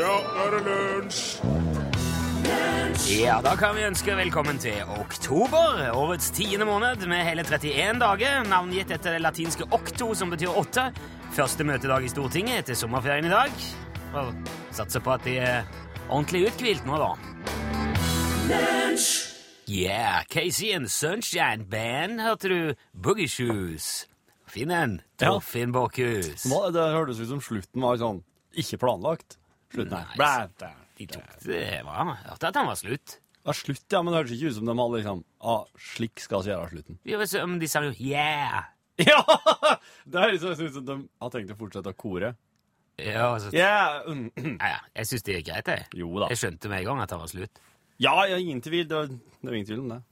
Ja, nå er det lunsj! Ja, da kan vi ønske velkommen til oktober, årets tiende måned med hele 31 dager, navngitt etter det latinske octo, som betyr åtte. Første møtedag i Stortinget etter sommerferien i dag. Og satser på at de er ordentlig uthvilt nå, da. Yeah, Casey and Sunshine Band, hørte du? Boogie Shoes. Finn en. Ja. Torfinn Borkhus. Hva- Det hørtes ut som slutten var sånn ikke planlagt. Slutten her. Nei, Blæ, blæ, De blæ. tok det bra. Hørte at han var slutt. Ja, slutt, ja, men det hørtes ikke ut som de hadde liksom ah, slik skal vi gjøre slutten. Vi var så- men De sa jo 'yeah'. Ja! Det høres ut som de har tenkt å fortsette å kore. Ja, og så Ja, mm, Ja, ja. Jeg syns det er greit, jeg. Jo da. Jeg skjønte med en gang at det var slutt. ja, ja ingen tvil. Det, det er ingen tvil om det.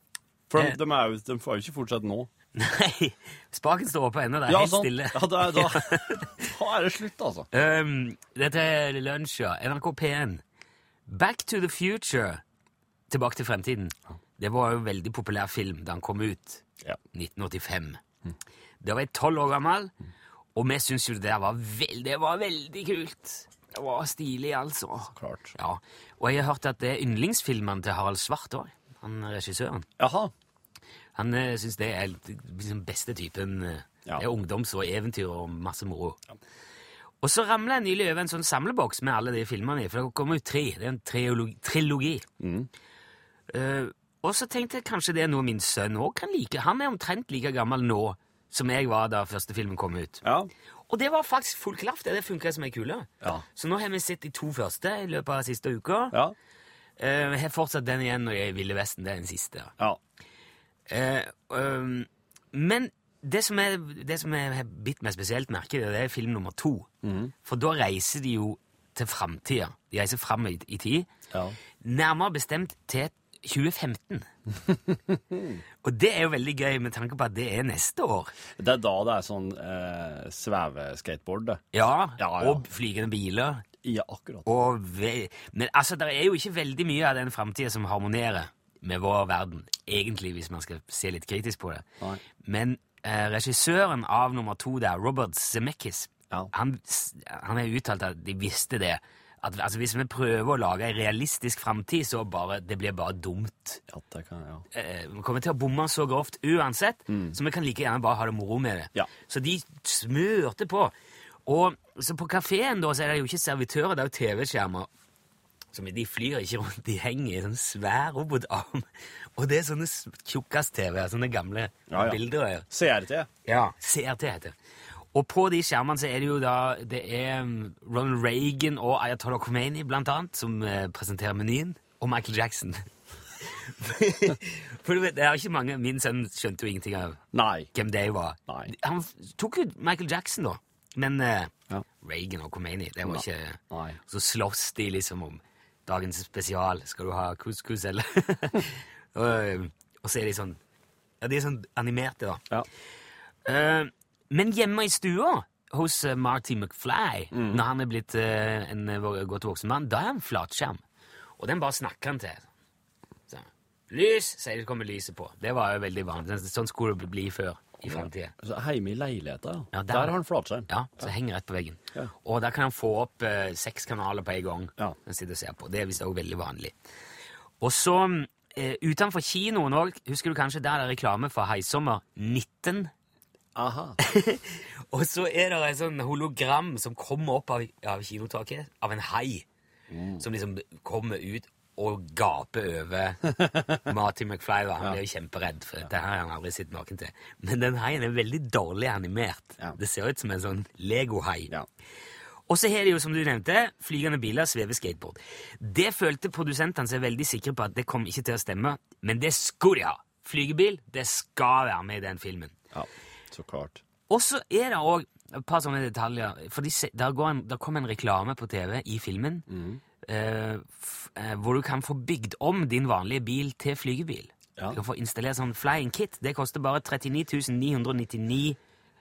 For de, de, er jo, de får jo ikke fortsette nå. Nei, spaken står oppe ennå. Det er Ja, helt sånn. stille. Ja, da, da, da er det slutt, altså. Um, dette er lunsj, ja. NRK P1. Back to the future. Tilbake til fremtiden. Det var jo en veldig populær film da den kom ut. Ja. 1985. Da var jeg tolv år gammel, og vi syntes jo det der var veldig, det var veldig kult. Det var stilig, altså. Klart. Ja, Og jeg har hørt at det er yndlingsfilmen til Harald Svart òg, han regissøren. Jaha. Han eh, syns det er litt- liksom beste typen. eh, Ja. Det er ungdoms- og eventyr og masse moro. Og så ramla jeg nylig over en sånn samleboks med alle de filmene i, for det kommer jo tre. Det er en triologi. trilogi. Mm. Eh, og så tenkte jeg kanskje det er noe min sønn òg kan like. Han er omtrent like gammel nå som jeg var da første filmen kom ut. Ja. Og det var faktisk full klaff. Det, det funka som ei kule. Ja. Så nå har vi sett de to første i løpet av siste uka. Ja. Eh, Jeg har fortsatt den igjen når jeg er i Ville Vesten. Det er den siste. ja. Eh, øhm, men det som, er, det som jeg har bitt meg spesielt merke i, det er film nummer to. Mm. For da reiser de jo til framtida. De reiser fram i, i tid. ja. Nærmere bestemt til 2015. Og det er jo veldig gøy med tanke på at det er neste år. Det er da det er sånn eh, sveveskateboard, det. Ja, Ja, ja. Og flygende biler. Ja, akkurat. Og ve men altså, det er jo ikke veldig mye av den framtida som harmonerer med vår verden, egentlig, hvis man skal se litt kritisk på det. Nei. Men eh, regissøren av nummer to der, Robert Zemeckis, Ja. han, s- han har uttalt at de visste det. At altså, hvis vi prøver å lage ei realistisk framtid, så bare, det blir bare dumt. Ja, det kan, ja. Eh, vi kommer til å bomme så grovt uansett, så vi kan like gjerne bare ha det moro med det. Mm. Ja. Så de smørte på. Og så på kafeen da, så er det jo ikke servitører, det er jo TV-skjermer. Som De flyr ikke rundt, de henger i sånn svær robotarm. Og det er sånne s- tjukkas-TV, sånne gamle Ja, ja. bilder. Ja. CRT. Ja, CRT heter det. Og på de skjermene så er det jo da det er um, Ronald Reagan og Ayatollah Khomeini blant annet som eh, presenterer menyen, og Michael Jackson. For du vet, det er ikke mange, Min sønn skjønte jo ingenting av Nei. hvem de var. Nei. Han f- tok jo Michael Jackson, da. Men eh, Ja. Reagan og Khomeini, det var Nei. ikke Nei. Så slåss de liksom om dagens spesial. Skal du ha couscous, eller? og, um, og så er de sånn Ja, de er sånn animerte, da. Ja. Eh, men hjemme i stua hos eh, Marty McFly, Mm. når han er blitt eh, en eh, vår- godt voksen mann, da er han flatskjerm. Og den bare snakker han til. Så, lys, sier det kommer lyset på. Det var jo veldig vanlig. Sånn skulle det bli før i fremtiden. Så Altså, Hjemme i leiligheta, ja. Ja, der, der- har han flatskjerm. Ja, så henger rett på veggen. Ja. Og der kan han få opp eh, seks kanaler på en gang. Ja. Den sitter og ser på. Det er visst også veldig vanlig. Og så eh, utenfor kinoen òg, husker du kanskje der det er reklame for Heisommer 19? Aha. Og så er det en sånn hologram som kommer opp av, av kinotaket, av en hai. Mm. Som liksom kommer ut og gaper over Marty McFly. Da. Han blir jo kjemperedd, for dette her har han aldri sett maken til. Men den haien er veldig dårlig animert. Ja. Det ser ut som en sånn Lego-hai. Ja. Og så har de jo, som du nevnte, flygende biler, sveve skateboard. Det følte produsentene seg veldig sikre på at det kom ikke til å stemme, men det skulle de ha. Flygebil, det skal være med i den filmen. ja. Så klart. Og så er det òg et par sånne detaljer. For de se- der, går en, der kom en reklame på TV i filmen eh, f, eh, hvor du kan få bygd om din vanlige bil til flygebil. Ja. Du kan få installert sånn flying kit. Det koster bare 39 999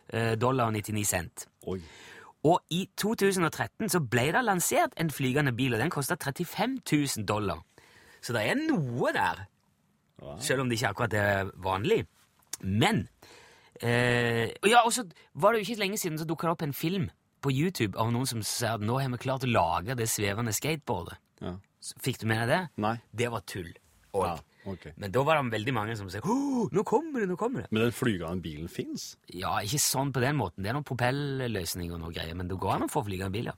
eh, dollar og 99 cent. Oi. Og i 2013 så ble det lansert en flygende bil, og den kosta 35 000 dollar. Så det er noe der, Ja. selv om det ikke akkurat er vanlig. Men eh, og Ja, og så var det jo ikke lenge siden så dukka det opp en film på YouTube av noen som sier at nå har vi klart å lage det svevende skateboardet. Ja. Så Fikk du med deg det? Nei. Det var tull. Og, Ja, ok. Men da var det veldig mange som sa «Åh, nå kommer det, nå kommer det. Men den flygende bilen fins? Ja, ikke sånn på den måten. Det er noen propelløsninger og noe greier, men det går an å få flygende biler.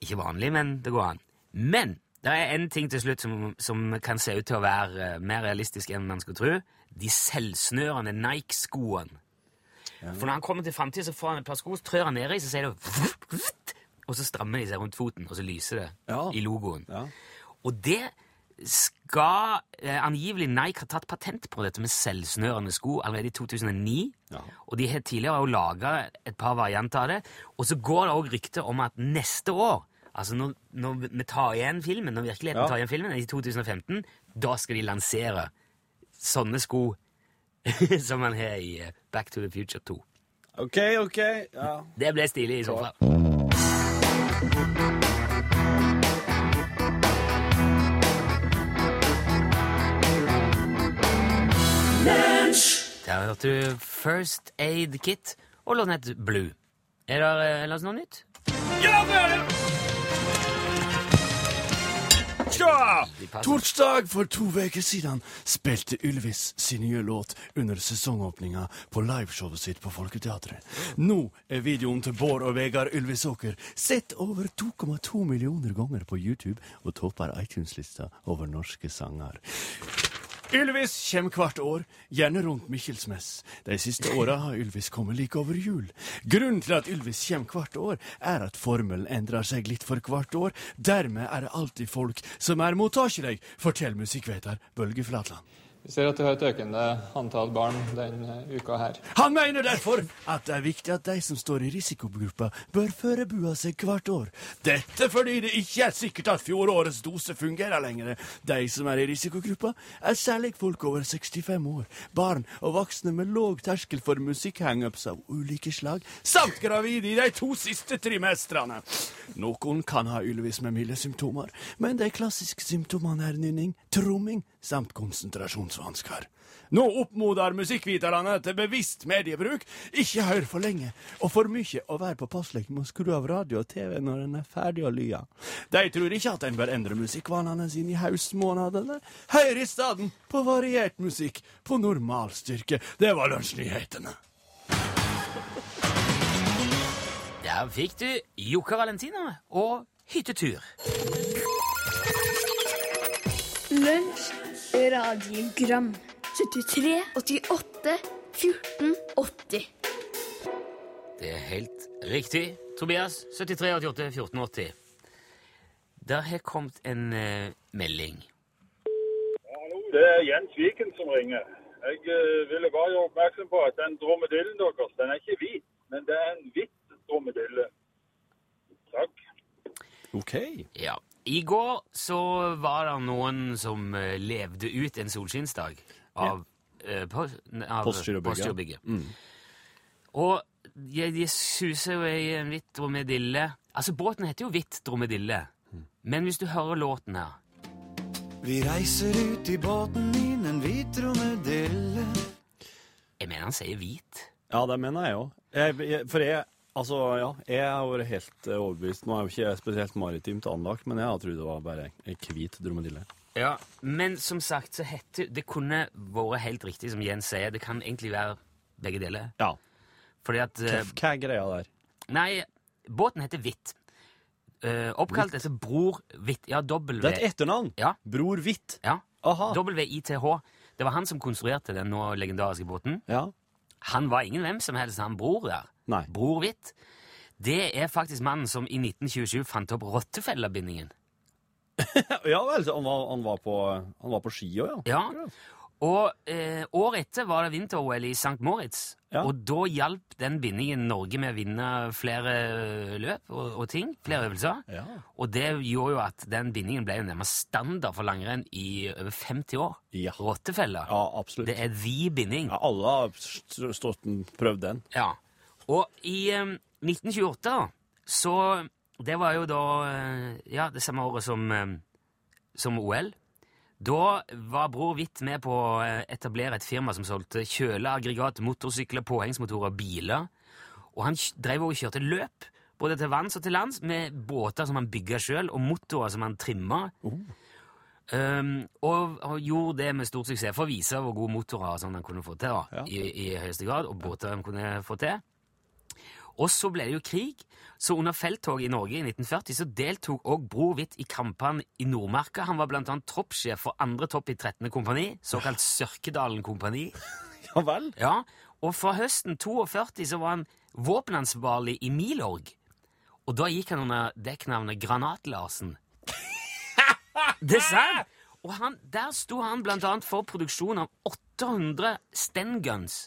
Ikke vanlig, men det går an. Men det er en ting til slutt som, som kan se ut til å være eh, mer realistisk enn man skulle tro. De selvsnørende Nike-skoene. For når han kommer til framtida, så får han et par sko, så trør han nedi, så sier det Og så strammer de seg rundt foten, og så lyser det Ja. i logoen. Ja. Og det skal eh, angivelig Nike ha tatt patent på dette med selvsnørende sko allerede i 2009. Ja. Og de har tidligere også laga et par varianter av det. Og så går det òg rykter om at neste år, altså når, når vi tar igjen filmen, når virkeligheten Ja. tar igjen filmen, i 2015, da skal de lansere sånne sko som man har i eh, Back to the Future 2. OK, OK. Ja. Det ble stilig i så fall. Der hørte du First Aid Kit og låten het Blue. Er det eh, ellers noe nytt? Ja, det er det! Tja! Torsdag for to uker siden spilte Ylvis sin nye låt under sesongåpninga på liveshowet sitt på Folketeatret. Nå er videoen til Bård og Vegard Ylvisåker sett over 2,2 millioner ganger på YouTube og topper iTunes-lista over norske sanger. Ylvis kommer hvert år, gjerne rundt Mikkelsmess. De siste åra har Ylvis kommet like over jul. Grunnen til at Ylvis kommer hvert år, er at formelen endrer seg litt for hvert år. Dermed er det alltid folk som er mottakelige, forteller musikkveter Bølge Flatland. Vi ser at vi har et økende antall barn denne uka her. Han mener derfor at det er viktig at de som står i risikogruppa, bør føre bua seg hvert år. Dette fordi det ikke er sikkert at fjorårets dose fungerer lenger. De som er i risikogruppa, er særlig folk over 65 år, barn og voksne med låg terskel for musikkhangups av ulike slag, samt gravide i de to siste trimestrene. Noen kan ha Ylvis med milde symptomer, men de klassiske symptomene er nynning, tromming samt konsentrasjonsvansker. Nå oppmoder musikkviterne til bevisst mediebruk. Ikke hør for lenge og for mye og vær påpasselig med å skru av radio og TV når en er ferdig å lya. De tror ikke at en bør endre musikkvanene sine i høstmånedene. Hør i stedet på variert musikk på normal styrke. Det var lunsjnyhetene. Der fikk du Jokke Valentina og hyttetur. Lunsj, radiogram 73, 88, 14, 80 Det er helt riktig. Tobias, 73, 88, 14, 80. Der har kommet en eh, melding. Det er Jens Viken som ringer. Jeg eh, ville bare gjøre oppmerksom på at den dromedillen deres, den er ikke hvit, men det er en hvitt dromedille. Takk. OK. Ja. I går så var det noen som eh, levde ut en solskinnsdag av, eh, post, ne, av Postgirobygget. Postgirobygget. Og de, de suser jo i en hvitt dromedille. Altså, båten heter jo Hvitt dromedille. Men hvis du hører låten her Vi reiser ut i båten min, en hvit romedille. Jeg mener han sier hvit. Ja, det mener jeg òg. Jeg, jeg, for jeg Altså, ja, jeg har vært helt eh, overbevist. Nå er jo ikke jeg spesielt maritimt anlagt, men jeg trodde det var bare ei hvit dromedille. Ja, Men som sagt, så heter det kunne vært helt riktig, som Jens sier. Det kan egentlig være begge deler. Ja. Fordi at eh, Hva er greia der? Nei, båten heter Hvitt. Eh, oppkalt etter bror Hvitt. Ja, W. Det er et Ah. etternavn! Ja. Bror Hvitt. Ja, Aha. W-I-T-H. Det var han som konstruerte den nå legendariske båten. Ja. Han var ingen hvem som helst, han bror der. Nei. Bror Hvitt. Det er faktisk mannen som i 1927 fant opp rottefellebindingen. Ja vel, så han var, han var, på, han var på ski òg, ja. Ja. Og eh, året etter var det vinter-OL i St. Moritz, Ja. og da hjalp den bindingen Norge med å vinne flere eh, løp og, og ting, flere øvelser. Ja. Og det gjorde jo at den bindingen ble jo nærmest standard for langrenn i over 50 år. Ja. Rottefeller. Ja, absolutt. Det er the binding. Ja, alle har st- stått den, prøvd den. Ja. Og i eh, 1928, da, så Det var jo da eh, Ja, det samme året som, eh, som OL. Da var Bror Hvitt med på å eh, etablere et firma som solgte kjøleaggregat, motorsykler, påhengsmotorer og biler. Og han kj- drev og kjørte løp både til vanns og til lands, med båter som han bygde sjøl, og motorer som han trimma. Um, og, og gjorde det med stor suksess for å vise hvor gode motorer og sånn han kunne få til. da, Ja. i, i høyeste grad, Og båter han kunne få til. Og så ble det jo krig, så under felttoget i Norge i 1940 så deltok òg Bror Hvitt i kampene i Nordmarka. Han var blant annet troppssjef for andre topp i 13. kompani, såkalt Sørkedalen kompani. Ja vel? Ja, og fra høsten 42 så var han våpenansvarlig i Milorg. Og da gikk han under dekknavnet Granat-Larsen. Det er sant! Og han, der sto han blant annet for produksjon av 800 stenguns.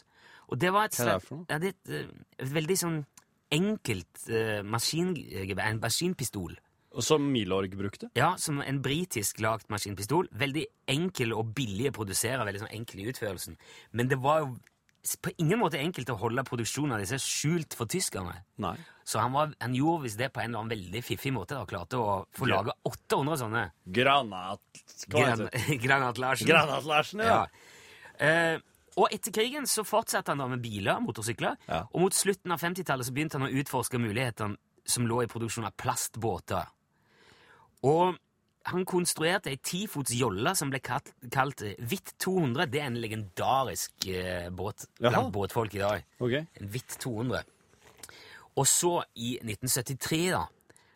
Og det var et, Hva er det slags- for noe? Ja, det er et, eh, et veldig sånn enkelt eh, maskingevær, en maskinpistol. Og Som Milorg brukte? Ja, som en britisk lagt maskinpistol. Veldig enkel og billig å produsere, veldig sånn enkel i utførelsen. Men det var jo s- på ingen måte enkelt å holde produksjonen av disse skjult for tyskerne. Nei. Så han, var, han gjorde visst det på en eller annen veldig fiffig måte. da, Klarte å få Ja. laga 800 sånne Granat... Hva heter gran altså. det? Granat-Larsen. Granat-Larsen, ja. Ja. Eh, og etter krigen så fortsatte han da med biler, motorsykler, Ja. og mot slutten av 50-tallet så begynte han å utforske mulighetene som lå i produksjon av plastbåter. Og han konstruerte ei tifots jolle som ble kalt, kalt eh, Hvitt 200. Det er en legendarisk eh, båt Jaha. blant båtfolk i dag. Ok. En hvitt 200. Og så, i 1973, da,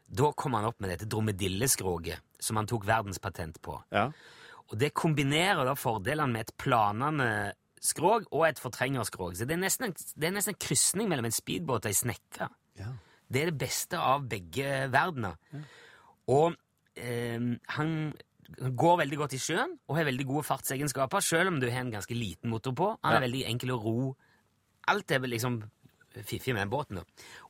da kom han opp med dette dromedilleskroget, som han tok verdenspatent på. Ja. Og det kombinerer da fordelene med et planende skrog og et fortrengerskrog. Så det er nesten, en- det er nesten en krysning mellom en speedbåt og ei snekke. Det er det beste av begge verdener. Og eh, han går veldig godt i sjøen og har veldig gode fartsegenskaper, selv om du har en ganske liten motor på. Han er Ja. veldig enkel å ro. Alt er vel liksom fiffig med den båten. Da.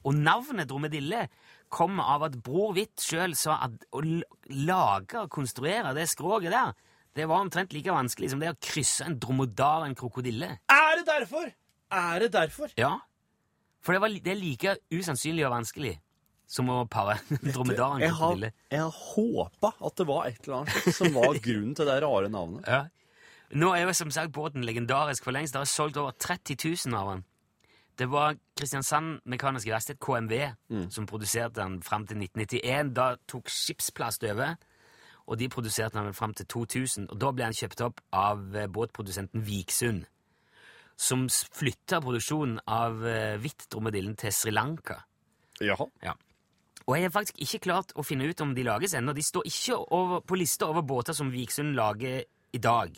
Og navnet Dromedille kommer av at Bror Hvitt sjøl sa at å l- lage og konstruere det skroget der, det var omtrent like vanskelig som det å krysse en dromedar og en krokodille. Er det derfor? Er det derfor? Ja. For det, var, li- det er like usannsynlig og vanskelig som å pare en dromedar og en Jeg har, krokodille. jeg har håpa at det var et eller annet slikt som var grunnen til det rare navnet. Ja. Nå er jo som sagt båten legendarisk for lengst. Det er solgt over 30 000 av den. Det var Kristiansand Mekaniske Verksted, KMV, som produserte den fram til 1991. Da tok skipsplast over, og de produserte den vel fram til 2000. Og da ble den kjøpt opp av eh, båtprodusenten Viksund, som s- flytta produksjonen av eh, hvitt-dromedillen til Sri Lanka. Jaha. Og jeg har faktisk ikke klart å finne ut om de lages ennå. De står ikke over, på lista over båter som Viksund lager i dag.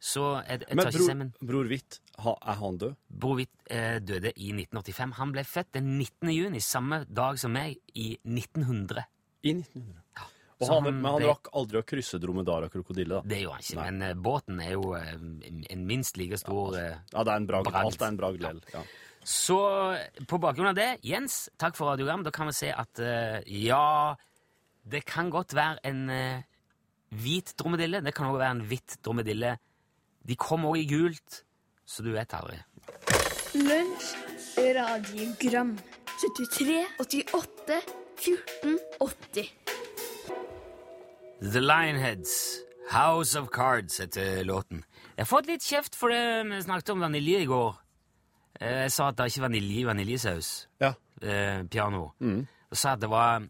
Så jeg, jeg Men tar ikke bror, stemmen. bror Hvitt, ha, er han død? Brovit eh, døde i 1985. Han ble født den 19. juni, samme dag som meg, i 1900. I 1900. Og Så han, han men han ble- rakk aldri å krysse dromedar og krokodille, da. Det gjorde han ikke, men eh, båten er jo eh, en, en minst like stor eh. Ja, det er en bragd. Bragd. Alt er en bragd lell. Ja. Så på bakgrunn av det, Jens, takk for radiogram. Da kan vi se at eh, ja, det kan godt være en eh, hvit dromedille. Det kan også være en hvitt dromedille. De kom også i gult, så du vet aldri. Lunsj, radiogram 73, 88, 14, 80 The Lionheads, House of Cards heter låten. Jeg har fått litt kjeft for det vi snakket om vanilje i går. Eh, Jeg sa at det er ikke vanilje i vaniljesaus. Ja. Eh, piano. Og sa at det var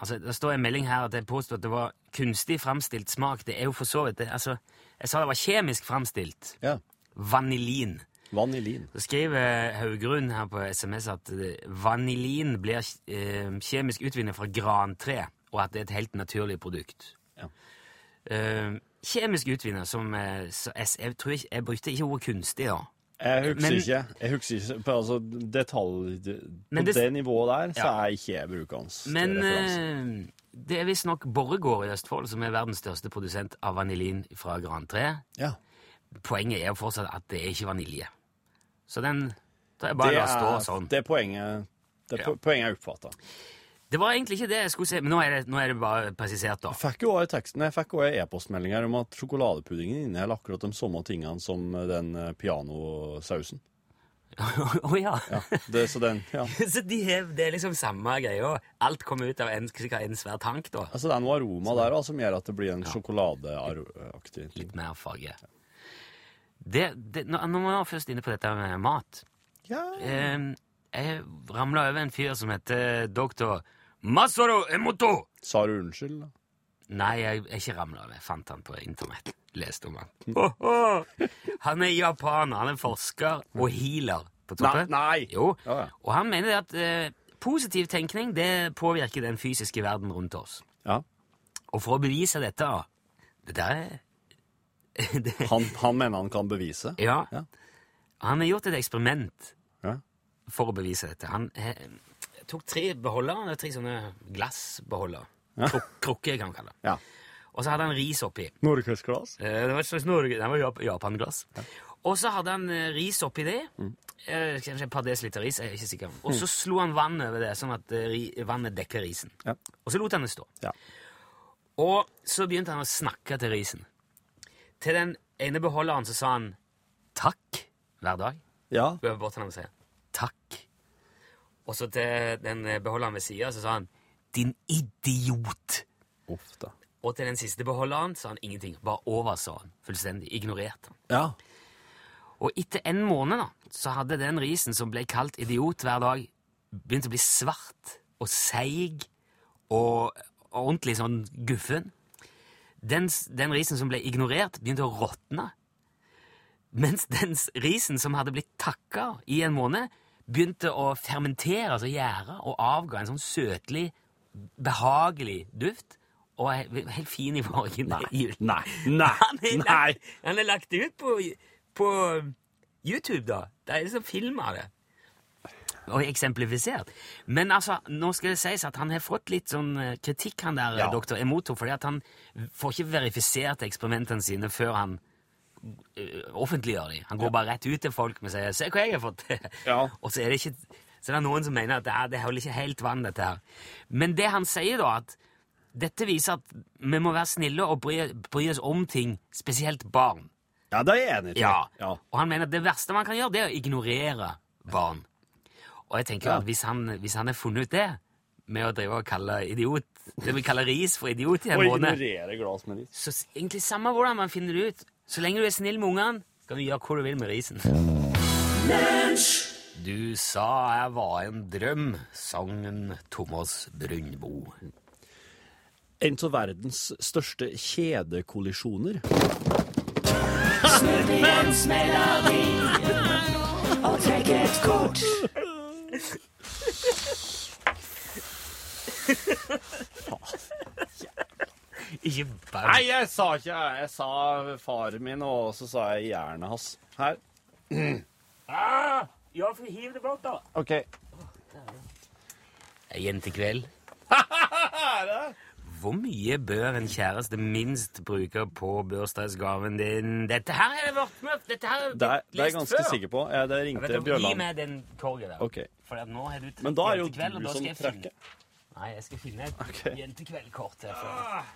Altså, Det står en melding her at jeg påstod at det var kunstig framstilt smak. Det er jo for så vidt det. Altså, jeg sa det var kjemisk framstilt. ja. Vanilin. Vanilin. Så skriver Haugrun her på SMS at eh, vanilin blir eh, kjemisk utvinnet fra grantre, og at det er et helt naturlig produkt. Ja. Eh, kjemisk utvinnet, som eh, så jeg, jeg, tror ikke, jeg brukte ikke ordet kunstig, da. Jeg husker Men- ikke. Jeg husker ikke på, altså, detalj, på Men det, det- nivået der så Ja. er ikke jeg brukende. Men referanse. eh, det er visstnok Borregaard i Østfold som er verdens største produsent av vanilin fra grantre. ja. Poenget er jo fortsatt at det er ikke vanilje. Så den Da er det, bare la stå er, sånn. det er poenget. Det er Ja. po- poenget jeg oppfatta. Det var egentlig ikke det jeg skulle si, men nå er det, nå er det bare presisert, da. Jeg fikk jo også i teksten, jeg fikk også en e-postmelding her om at sjokoladepuddingen inneholder akkurat de samme tingene som den eh, pianosausen. Å ja. Ja, det, så den, ja. Så de har, det er liksom samme greia. Alt kommer ut av en, sikkert en svær tank, da. Altså, det er noe aroma der også, som gjør at det blir en sjokoladeaktig ting. Litt mer farge. Det, det, nå, nå var jeg først inne på dette med mat. Ja. Eh, Jeg ramla over en fyr som heter doktor Masoro Emoto. Sa du unnskyld, da? Nei, jeg jeg er ikke ramla over. Jeg fant han på internett. Leste om han. Ho-ho! Han er japaner. Han er forsker og healer. På toppen. Nei, nei! Jo. Ja, ja. Og han mener at eh, positiv tenkning det påvirker den fysiske verden rundt oss. Ja. Og for å bevise dette Det der er det, Han, han mener han kan bevise. ja. Ja. Han har gjort et eksperiment Ja. for å bevise dette. Han eh, tok tre beholdere, eller tre sånne glassbeholdere. Kruk, krukker, kan man kalle det. Ja. Og så hadde han ris oppi. Norgesglass? Eh, Det var et slags Norge, det var Jap Japan-glass. Og så hadde han eh, ris oppi det. Mm. Eh, Kanskje et par desiliter ris. jeg er ikke sikker. Og så slo han vann over det, sånn at eh, ri- vannet dekka risen. Ja. Og så lot han det stå. Ja. Og så begynte han å snakke til risen. Til den ene beholderen så sa han takk hver dag. Ja. Går bort til han og sier takk. Og så til den eh, beholderen ved sida så sa han din idiot. Uff, da. Og til den siste beholderen sa han ingenting. Bare oversa han fullstendig. Ignorerte han. Ja. Og etter en måned da, så hadde den risen som ble kalt idiot hver dag, begynt å bli svart og seig og og ordentlig sånn guffen. Den, s- den risen som ble ignorert, begynte å råtne. Mens den s- risen som hadde blitt takka i en måned, begynte å fermentere, altså gjære, og avga en sånn søtlig, behagelig duft. Og var he- helt fin i fargen. Nei, Nei. Nei. han er, Nei. Lagt, han er lagt ut på, på YouTube, da. Det er de som filmer det. Og eksemplifisert. Men altså, nå skal det sies at han har fått litt sånn eh, kritikk, han der Ja. doktor Emoto, fordi at han får ikke verifisert eksperimentene sine før han eh, offentliggjør dem. Han går bare rett ut til folk med og sier 'se hva jeg har fått til'. Ja. Og så er det ikke så det er noen som mener at det, er, det holder ikke helt vann, dette her. Men det han sier, da, at dette viser at vi må være snille og bry, bry oss om ting, spesielt barn. Ja, det er jeg enig i. ja. Og han mener at det verste man kan gjøre, det er å ignorere barn. Og jeg tenker Ja. at hvis han, hvis han har funnet ut det, med å drive og kalle idiot Det vi kaller ris for idiot i en Og måned, ignorere glass med litt. så s- egentlig samme hvordan man finner det ut. Så lenge du er snill med ungene, kan du gjøre hva du vil med risen. Du sa jeg var en drøm, sangen Thomas Brunbo. En av verdens største kjedekollisjoner. Ikke bare Nei, jeg sa ikke Jeg sa faren min, og så sa jeg jernet hans. Her. Ja, for hiv det bort, da. OK. Jentekveld. Hvor mye bør en kjæreste minst bruke på bursdagsgaven din? Dette her har jeg vært med Dette her har jeg Det er, det er jeg lest ganske før. sikker på. Ja, det Jeg vet ringte om, Gi Bjørland. meg den korgen der. Ok. For at nå har du Men da er det jo jentekveld, og du da skal som jeg finne- trekker. Nei, jeg skal finne et Ok. jentekveldkort her. For.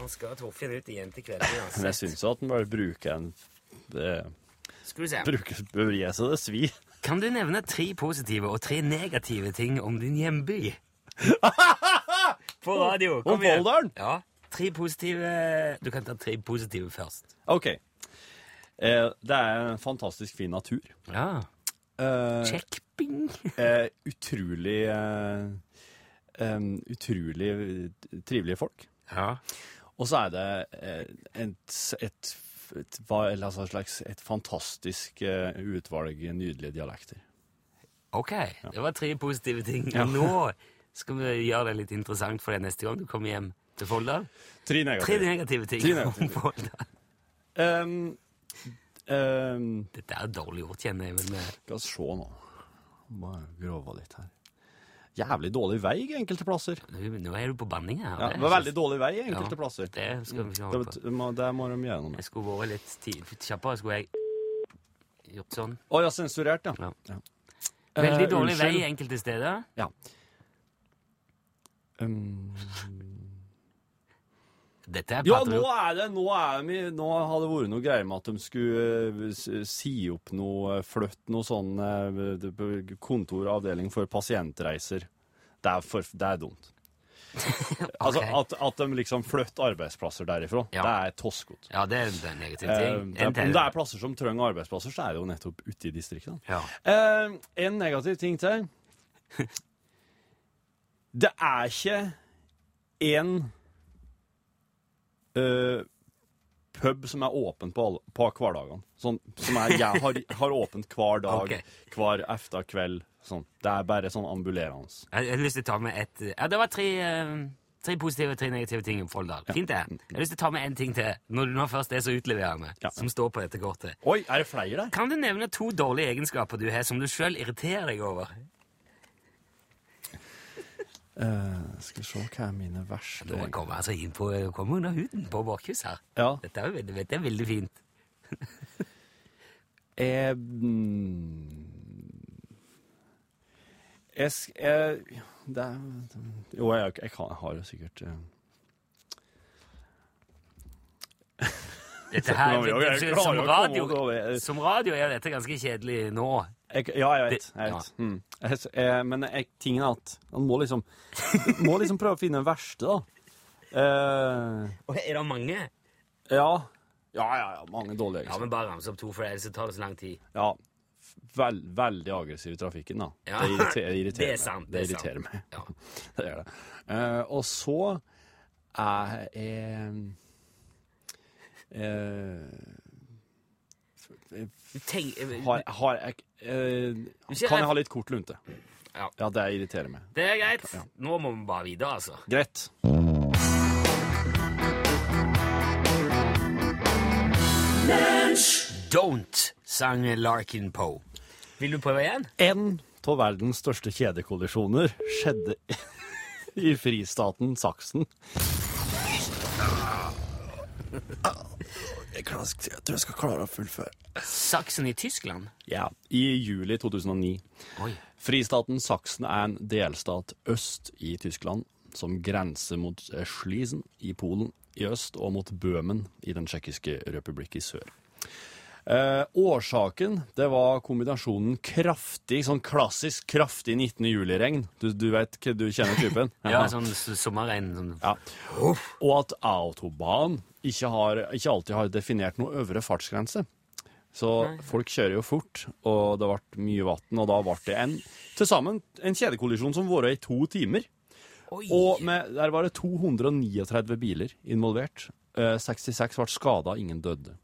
Han skal Torfinn ut i altså. jentekveld Men jeg uansett. syns jo at en bare bruker en eh, Skal vi se. Bruker bør gi seg det svi. Kan du nevne tre positive og tre negative ting om din hjemby? På radio. Kom Om igjen. Folldalen? Ja. Tre positive Du kan ta tre positive først. OK. Eh, det er en fantastisk fin natur. Ja. Eh, Check, bing. eh, utrolig eh, eh, Utrolig eh, trivelige folk. Ja. Og så er det eh, et, et, et, hva- eller altså et slags et fantastisk eh, utvalg nydelige dialekter. Ok. Det var tre positive ting. Og Nå skal vi gjøre det litt interessant for deg neste gang du kommer hjem til Folldal. Tre Tre negative ting Tre negative om Folldal. Um, um, Dette er dårlig gjort, kjenner jeg. Men eh, skal vi se nå. Bare grove litt her. Jævlig dårlig vei i enkelte plasser. eh, nå- nå er du på banning her. Ja, det var veldig dårlig vei i enkelte plasser. Det, Det skal vi ikke holde på. bet- må- det må de gjøre noe med. Jeg skulle vært litt ti- kjappere. Skulle jeg gjort sånn? Å ja, sensurert, ja. Ja. Ja. Veldig Eh, dårlig vei unnskyld. enkelte steder. Ja. Um, Dette er Ja, nå patrio- er det, nå er vi, nå har det vært noe greier med at de skulle eh, s- si opp noe, eh, flytte noe sånn eh, det- på kontor og avdeling for pasientreiser. Det er, for, det er dumt. Altså, Ok. at, at de liksom flytter arbeidsplasser derifra, Ja. det er toskete. Ja, det er en negativ Eh, ting. det er- Om det er plasser som trenger arbeidsplasser, så er det jo nettopp ute i distriktene. Ja. Eh, en negativ ting til. Det er ikke én eh, pub som er åpen på, alle, på hverdagene. Sånn, som er, jeg har, har åpent hver dag, Ok. hver efter kveld. Sånn. Det er bare sånn ambulerende. Jeg, jeg har lyst til å ta med et Ja, det var tre, eh, tre positive og tre negative ting om Folldal. Fint, det. Jeg har lyst til å ta med en ting til, når du nå først er så utleverende, Ja. som står på dette kortet. Oi, er det flere der? Kan du nevne to dårlige egenskaper du har, som du sjøl irriterer deg over? skal vi se hva er mine verste Nå kommer jeg altså inn på kommer under huden på Borchhus her. Ja. Dette er, jo veldig, dette er veldig fint. Jeg, Eh, mm, jeg, sk- jeg det er, Jo, jeg, jeg, kan, jeg har jo sikkert eh, Dette her, Nå, jo, jeg klarer som, å komme radio, over- som radio er dette ganske kjedelig nå. jeg, Ja, jeg vet. Det- Jeg vet. Mm. Jeg, s- eh, men jeg, tingen er at man må liksom, må liksom prøve å finne den verste, da. Eh, Og er det mange? ja. Ja, ja, ja. Mange dårlige Ja, eksempler. men bare ramse opp to, for ellers tar det så lang tid. Ja, vel, veldig aggressiv i trafikken, da. Ja. Det irriterer, irriterer Det er meg. sant, Det det er sant. irriterer meg. Ja. Det gjør det. Eh, og så er jeg eh, Du tenk- har, har jeg eh, Ikke Kan jeg- jeg ha litt kort lunte? Ja. ja, det irriterer meg. Det er greit. Nå må vi bare videre, altså. Greit. Don't sang Larkin Poe. Vil du prøve igjen? En av verdens største kjedekollisjoner skjedde i fristaten Saksen. Jeg, klarer- jeg tror jeg skal klare å fullføre. Saksen i Tyskland? Ja. I juli 2009. Oi. Fristaten Saksen er en delstat øst i Tyskland, som grenser mot eh, Schlesen i Polen i øst og mot Bøhmen i Den tsjekkiske republikk i sør. Eh, årsaken det var kombinasjonen kraftig, sånn klassisk kraftig 19. juli-regn. Du, du vet hva- du kjenner typen? Ja, sånn s- sommerregn. Sånn. Ja. Og at autobahn ikke, har, ikke alltid har definert noen øvre fartsgrense. Så folk kjører jo fort, og det ble mye vann, og da ble det en, til sammen en kjedekollisjon som varte i to timer. Oi. Og med, der var det 239 biler involvert. Eh, 66 ble skada, ingen døde.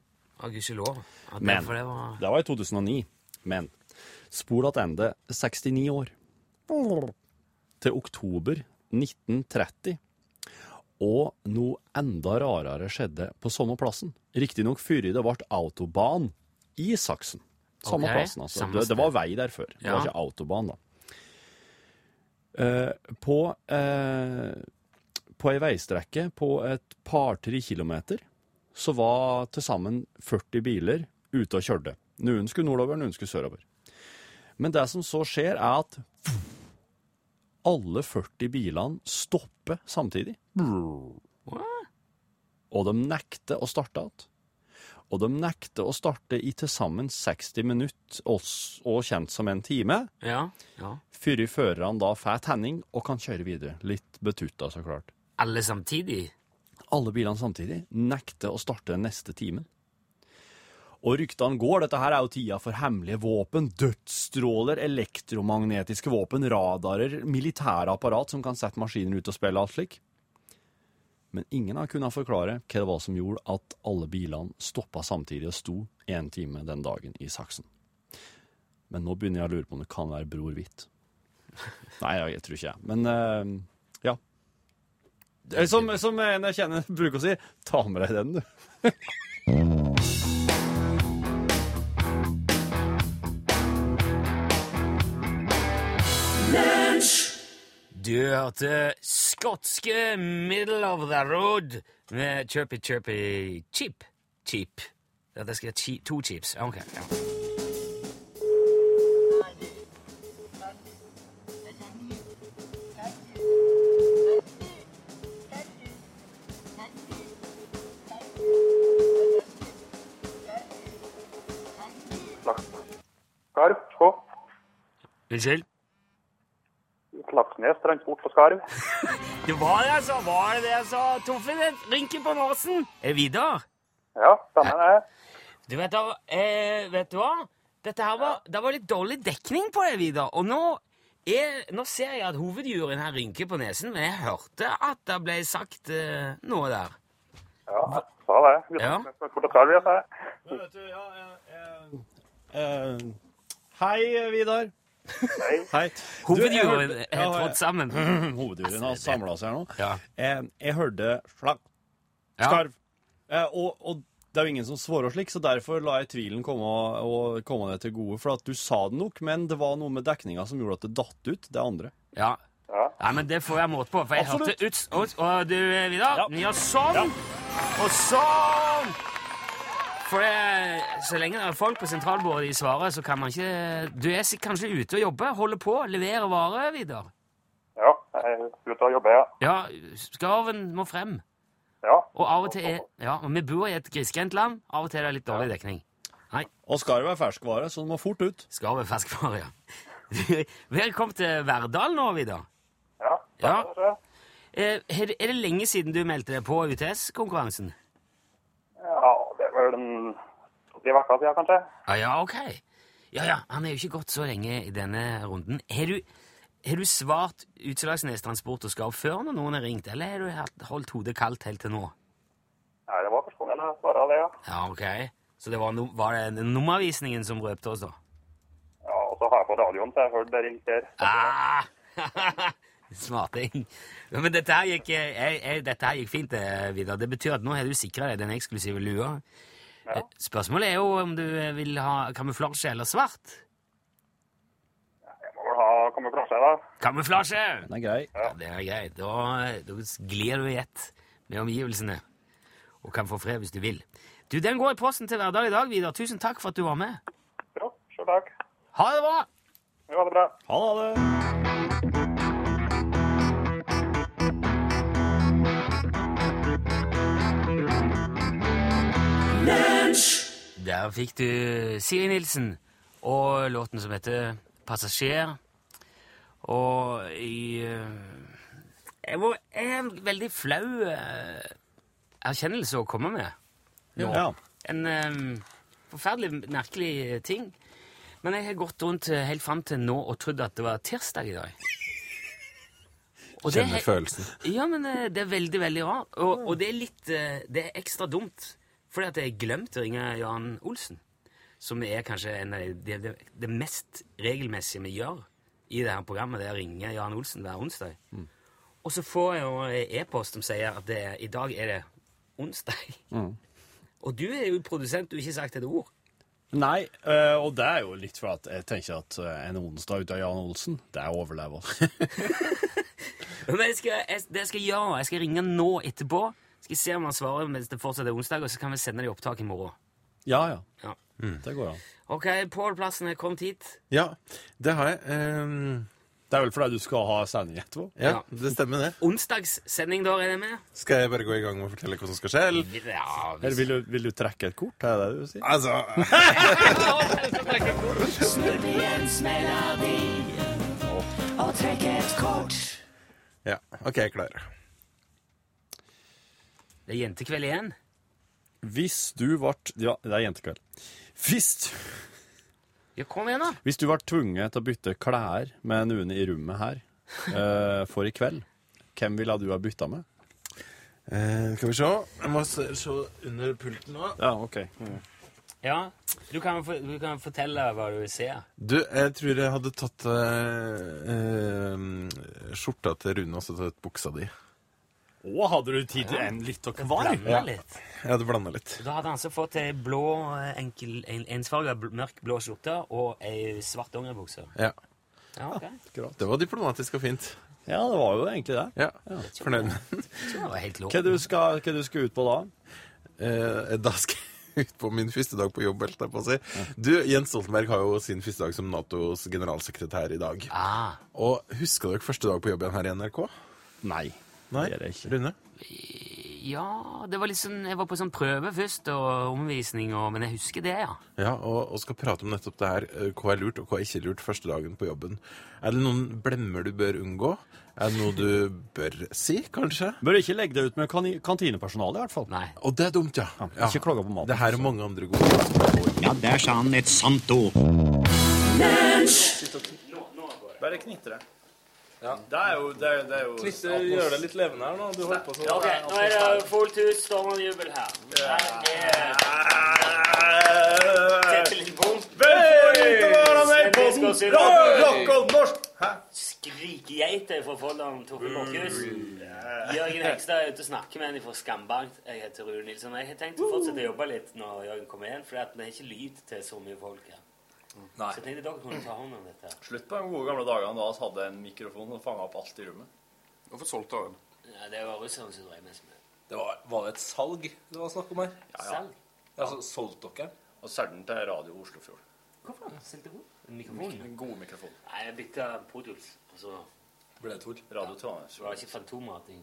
Å, gudskjelov. Ja, Men- derfor det var Det var i 2009. Men spol tilbake 69 år. Til oktober 1930. Og noe enda rarere skjedde på samme plassen. Riktignok før det ble autobahn i Saksen. Samme Ok, plassen, altså. samme det, det var vei der før. Det Ja. var ikke autobahn, da. Eh, på eh, på ei veistrekke på et par-tre kilometer så var til sammen 40 biler ute og kjørte. Noen skulle nordover, noen skulle sørover. Men det som så skjer, er at alle 40 bilene stopper samtidig. Og de nekter å starte igjen. Og de nekter å starte i til sammen 60 minutter, og s- og kjent som en time, Ja. ja. før førerne da får tenning og kan kjøre videre. Litt betutta, så klart. Alle samtidig? Alle bilene samtidig nekter å starte den neste timen. Og ryktene går, dette her er jo tida for hemmelige våpen, dødsstråler, elektromagnetiske våpen, radarer, militære apparat som kan sette maskiner ut og spille alt slik. Men ingen har kunnet forklare hva det var som gjorde at alle bilene stoppa samtidig og sto én time den dagen i Saksen. Men nå begynner jeg å lure på om det kan være Bror Hvitt. Nei, jeg tror ikke jeg. Men eh, ja. Eh, Som, som en jeg kjenner bruker å si, ta med deg den, du. Du hørte skotske Middle of the Road med Chirpy Chirpy Chip. Chip. Ja, det skal være chi- to chips. Ja, Ok. Ja. Skarp, Skå, Unnskyld? Klaksnes transport og skarv. Det var det, altså! Var det det jeg sa? Toffe, det rynker på nesen! Er det Vidar? Ja, stemmer det. Du vet, da, eh, vet du hva? Dette her var, Det var litt dårlig dekning på det, Vidar. Og nå, er, nå ser jeg at hovedjuryen her rynker på nesen, men jeg hørte at det ble sagt eh, noe der. Ja, jeg sa det. Vi Ja. snakker fort og skarv, jeg sa. Eh, Hei, Vidar. Hei. Hovedjuryen hørte- er ja, Mm. trådt sammen. Hovedjuryen har samla seg her nå. Ja. Eh, jeg hørte slakk, Ja. skarv. Eh, og, og det er jo ingen som svarer slik, så derfor la jeg tvilen komme, og komme deg til gode. For at du sa det nok, men det var noe med dekninga som gjorde at det datt ut, det andre. Ja. Nei, men det får jeg måte på, for jeg Absolutt. hørte ut, ut Og du, eh, Vidar, Ja. ja. gjør sånn, og sånn! For det, så lenge det er folk på sentralbordet de svarer, så kan man ikke Du er sik- kanskje ute og jobber, holder på, leverer varer, Vidar. Ja, jeg er ute og jobber, ja. Ja, skarven må frem. Ja, Og av og til er Ja, og vi bor i et grisgrendt land. Av og til er det litt dårlig dekning. Og skarv er ferskvare, så den må fort ut. Skarv er ferskvare, ja. Velkommen til Verdal nå, Vidar. ja. Ja. det er det. Eh, Er det er det lenge siden du meldte deg på UTS-konkurransen? Ja, det er vel en tre vekker siden, kanskje. Ja, Ah, ja, ok. Ja, ja, han er jo ikke gått så lenge i denne runden. Har du, har du svart Utslagsnes Transport og Skarv før når noen har ringt, eller har du hatt- holdt hodet kaldt helt til nå? Nei, det var første gangen jeg svaret det, ja. Ja, ok. Så det var, no, var det den nummervisningen som røpte oss, da? Ja, og så har jeg på radioen, så jeg hørte det ringt her. Ah! Smarting. Ja, Men dette her gikk, eh, jeg, jeg, dette her gikk fint, eh, Vidar. Det betyr at nå har du sikra deg den eksklusive lua. Eh, Spørsmålet er jo om du eh, vil ha kamuflasje eller svart. Jeg må vel ha kamuflasje, da. Kamuflasje! Den er grei. Ja, det er greit. Da, da glir du i ett med omgivelsene og kan få fred hvis du vil. Du, Den går i posten til hverdag i dag, Vidar. Tusen takk for at du var med. Ja, selv takk. Ha det bra! Ja, det er bra. Ha det! Der fikk du Siri Nilsen og låten som heter 'Passasjer'. Og i eh, Jeg var jeg har en veldig flau eh, erkjennelse å komme med. Ja. En eh, forferdelig merkelig ting. Men jeg har gått rundt eh, helt fram til nå og trodd at det var tirsdag i dag. Og det Kjenner er- følelsen. Ja, men eh, det er veldig, veldig rart. Og, og det er litt eh, Det er ekstra dumt, fordi at jeg glemte å ringe Jan Olsen. Som er kanskje en av det, det, det mest regelmessige vi gjør i det her programmet, det er å ringe Jan Olsen hver onsdag. Og så får jeg jo en e-post som sier at det, i dag er det onsdag. Og du er jo produsent, du har ikke sagt et ord. Nei, eh, og det er jo litt for at jeg tenker at eh, en onsdag ute av Jan Olsen, det er overleve oss. Men jeg skal, jeg, det jeg skal gjøre, jeg skal ringe nå etterpå. Skal se om han svarer mens det fortsatt er onsdag, og så kan vi sende det i opptak i morgen. Ja, ja. Ja. Det går an. Ok, Pål Plassen er kommet hit. Ja, det har jeg. Ehm, Det er vel fordi du skal ha sending etterpå? ja, det stemmer, det. Onsdagssending, da, regner jeg med? Skal jeg bare gå i gang med å fortelle hva som skal skje? eller? Ja, Eller vil du, vil du trekke et kort? Er det det du sier? Altså Ja, OK, jeg klarer det. Det er jentekveld igjen. Hvis du vart... Ja, det er jentekveld. Hvis, Ja, kom igjen, da. hvis du vart tvunget til å bytte klær med noen i rommet her eh, for i kveld, hvem ville du ha bytta med? Eh, skal vi se. Jeg må se, se under pulten nå. Ja, ok. Ja, Du kan, få- du kan fortelle hva du ser. Du, jeg tror jeg hadde tatt eh, eh, skjorta til Rune og så tatt buksa di. Å, hadde du tid til en litt og kvar? Blanda litt. Jeg hadde blanda litt. Da hadde han så fått ei blå, eh, enkel, en, ensfarga bl- mørk blå skjorte og ei svart dongeribukse. Ja. Ja, ok. Det var diplomatisk og fint. Ja, det var jo egentlig det. Ja, Fornøyd med den. Det var helt lov. Hva du skal, hva du skal ut på da? Eh, da skal jeg ut på min første dag på jobb, holdt jeg på å si. Du, Jens Stoltenberg har jo sin første dag som Natos generalsekretær i dag. Ah, Og husker dere første dag på jobb igjen her i NRK? Nei. Nei? Det gjør jeg ikke. Rune? Ja, det var litt sånn, jeg var på sånn prøve først, og omvisning, og, men jeg husker det, ja. Ja, og, og skal prate om nettopp det her, eh, hva er lurt og hva er ikke lurt første dagen på jobben. Er det noen blemmer du bør unngå? Er det noe du bør si, kanskje? Bør ikke legge deg ut med kani- kantinepersonalet, i hvert fall. Nei. Og det er dumt, ja. ja. Ikke klage på maten. Det her og mange andre gode råd. Ja, der sa han et sant ord. Bare knitre. Det er jo, det er, det er jo Knitre, gjør det litt levende her nå. Du holdt på sånn. fullt hus, storm og jubel her. Sette litt bom. Skrikegeiter fra Folldalen, Torfinn Borchhus. Jørgen Hegstad er ute og snakker med en fra Skambankt. Jeg heter Rune Nilsson. Jeg har tenkt å fortsette å jobbe litt når Jørgen kommer igjen, for det er ikke lyd til så mye folk her. Nei. Så jeg tenkte dere kunne ta hånd om dette. Slutt på de gode gamle dagene da vi hadde en mikrofon og fanga opp alt i rommet. Hvorfor solgte han den? Ja, det var russerne som drev mest med det. Det var, var det et salg det var snakk om her? ja. Salg? Altså, solgte dere? Og solgte den til Radio Oslofjord. Hva faen? Sendte hun? En mikrofon? En god mikrofon. Nei, jeg bytta Produls, og så Ble det tull? Radio Trondheim. så var det ikke fantomrating.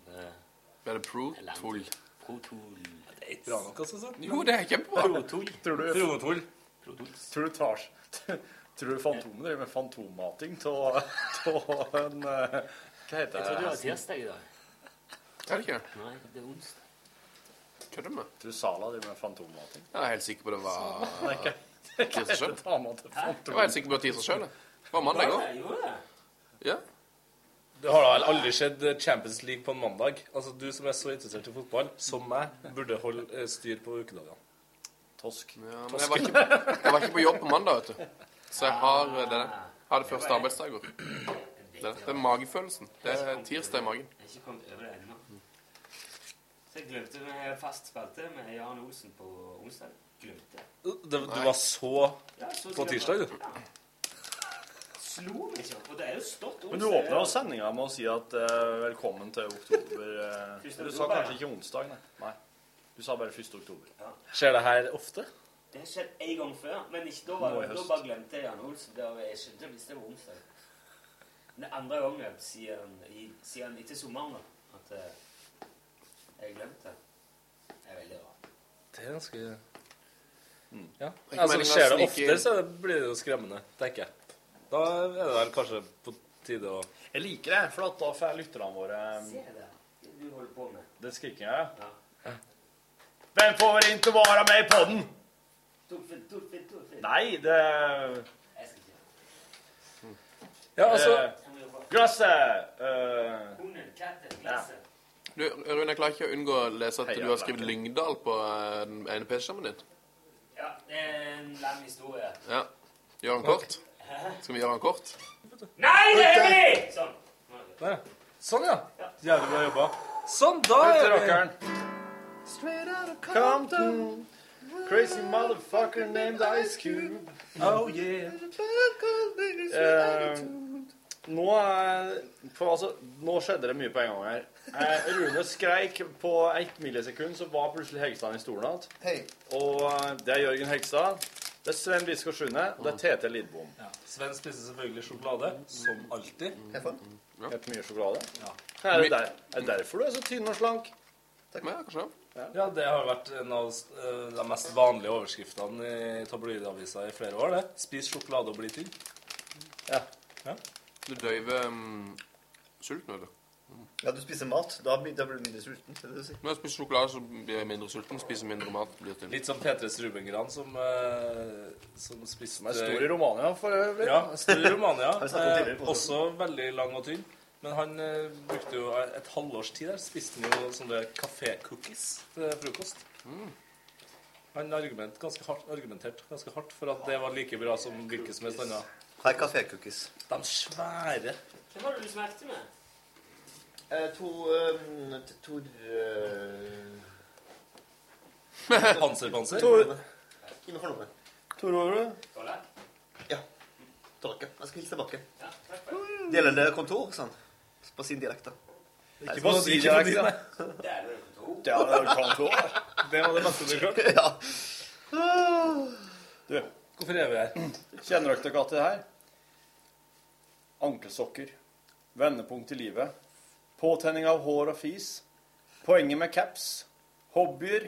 Ble det pro? Tull. Protool. Det er ikke bra nok, altså. sant? Jo, det er kjempebra. Protool. Tror du, Protoll. tror du tar Tror du Fantomet driver med fantommating av en eh, Hva heter det? Jeg trodde det var tirsdag i dag. Er det ikke? Nei, det er onsdag. Kødder du med? Tror du Sala driver med fantommating? Jeg er helt sikker på det var Nei, ikke. Tirsdag selv. Dama til Jeg var helt Fantomet. sikker på at det var tirsdag sjøl. Det var mandag òg. gjorde det. Ja. Det har da vel aldri skjedd Champions League på en mandag. Altså, Du som er så interessert i fotball, som meg, burde holde eh, styr på ukedagene. Tosk. Ja, men jeg var, ikke, jeg var ikke på jobb på mandag, vet du. Så jeg har eh, det, jeg har det første arbeidsdag i går. Det, det er magefølelsen. Det er tirsdag i magen. Jeg er ikke kommet over det ennå. Så jeg glemte vi har fast spalte med Jan Olsen på onsdag. Glemte. du var så Ja, så skal På jeg- tirsdag, du? Ja. Slo meg ikke. Og det er jo stått onsdag. Men du åpner jo sendinga med å si at eh, velkommen til oktober eh, Første Du sa oktober, kanskje ja. ikke onsdag, nei. nei. Du sa bare 1. oktober. Skjer det her ofte? Det har skjedd en gang før, men ikke da. Nå Var, i da høst. bare glemte jeg Jan Olsen. Det var, jeg skjønte hvis det var onsdag. Men det er andre gangen siden, i- siden etter sommeren da, at eh, jeg glemte det. Det er veldig rart. Det er ganske Ja. Ikke Altså, meningen å skjer det snike oftere, inn. så blir det jo skremmende, tenker jeg. Da er det vel kanskje på tide å Jeg liker det, for at da får jeg lytterne våre eh, Se det. Det du holder på med. Den skrikinga, ja. Ja. Hvem får ikke være med i podden? Torfinn, Torfinn, Torfinn. Nei, det Jeg skal ikke. Ja, altså eh, Jeg må jobbe. Glasset! eh, Hunden, katten, glasset. du, Rune, jeg klarer ikke å unngå å lese at Heia, du har skrevet Blakken. Lyngdal på eh, den ene PC-skjermen din. Ja, det er en lang historie. Ja. Gjør den kort? Skal vi gjøre den kort? Nei, det er hemmelig! Sånn. Sånn, ja. Jævlig bra jobba. Sånn, da Ut til er vi rockeren. Compton. Crazy motherfucker named Ice Cube. Oh yeah. Eh, nå, er- for altså, nå skjedde det mye på en gang her. Eh, Rune skreik på ett millisekund, så var plutselig Hegstad i stolen igjen. Og eh, det er Jørgen Hegstad. Det er Sven Biskår Sunde. og Det er Tete Lidbom. Sven spiser selvfølgelig sjokolade, som alltid. Helt mye sjokolade. Er, det der, er det derfor du er så tynn og slank? Ja, kanskje. Ja, det har vært en av eh, de mest vanlige overskriftene i tabloidavisa i flere år, det. Spis sjokolade og bli tynn. Ja. Du døyver mm, um, sulten, vet du. Ja, du spiser mat. Da, blir- da blir du mindre sulten. Det er det du sier. Når jeg spiser sjokolade, så blir jeg mindre sulten. Spiser mindre mat, blir tynn. Litt sånn som Petres Rubengran, som, eh, som spiste Han er stor i Romania for øvrig. Ja, stor i Romania. vi snakket om tidligere eh, på også veldig lang og tynn. Men han eh, brukte jo et halvårs tid der. Spiste han jo sånne kafé-cookies til frokost. Mm. Han argument, ganske hardt, argumenterte ganske hardt for at det var like bra som hvilket som helst annet. Her er kafécookies. De svære Hvem var det du smakte med? Eh, to um, Tor uh, Panserpanser. Gi meg fornavnet. Tor Ove. Kollak? Tilbake. Jeg skal hilse tilbake. Ja, takk for det. Delende kontor, sa han. På sin dialekt, da. Ikke på si dialekt, da. Det er vel kontor. Ja, det er jo kontor. Det var det beste du klarte. ja. Hvorfor er vi her? Kjenner dere dere til det her? Ankelsokker. Vendepunkt i livet. Påtenning av hår og fis. Poenget med caps. hobbyer,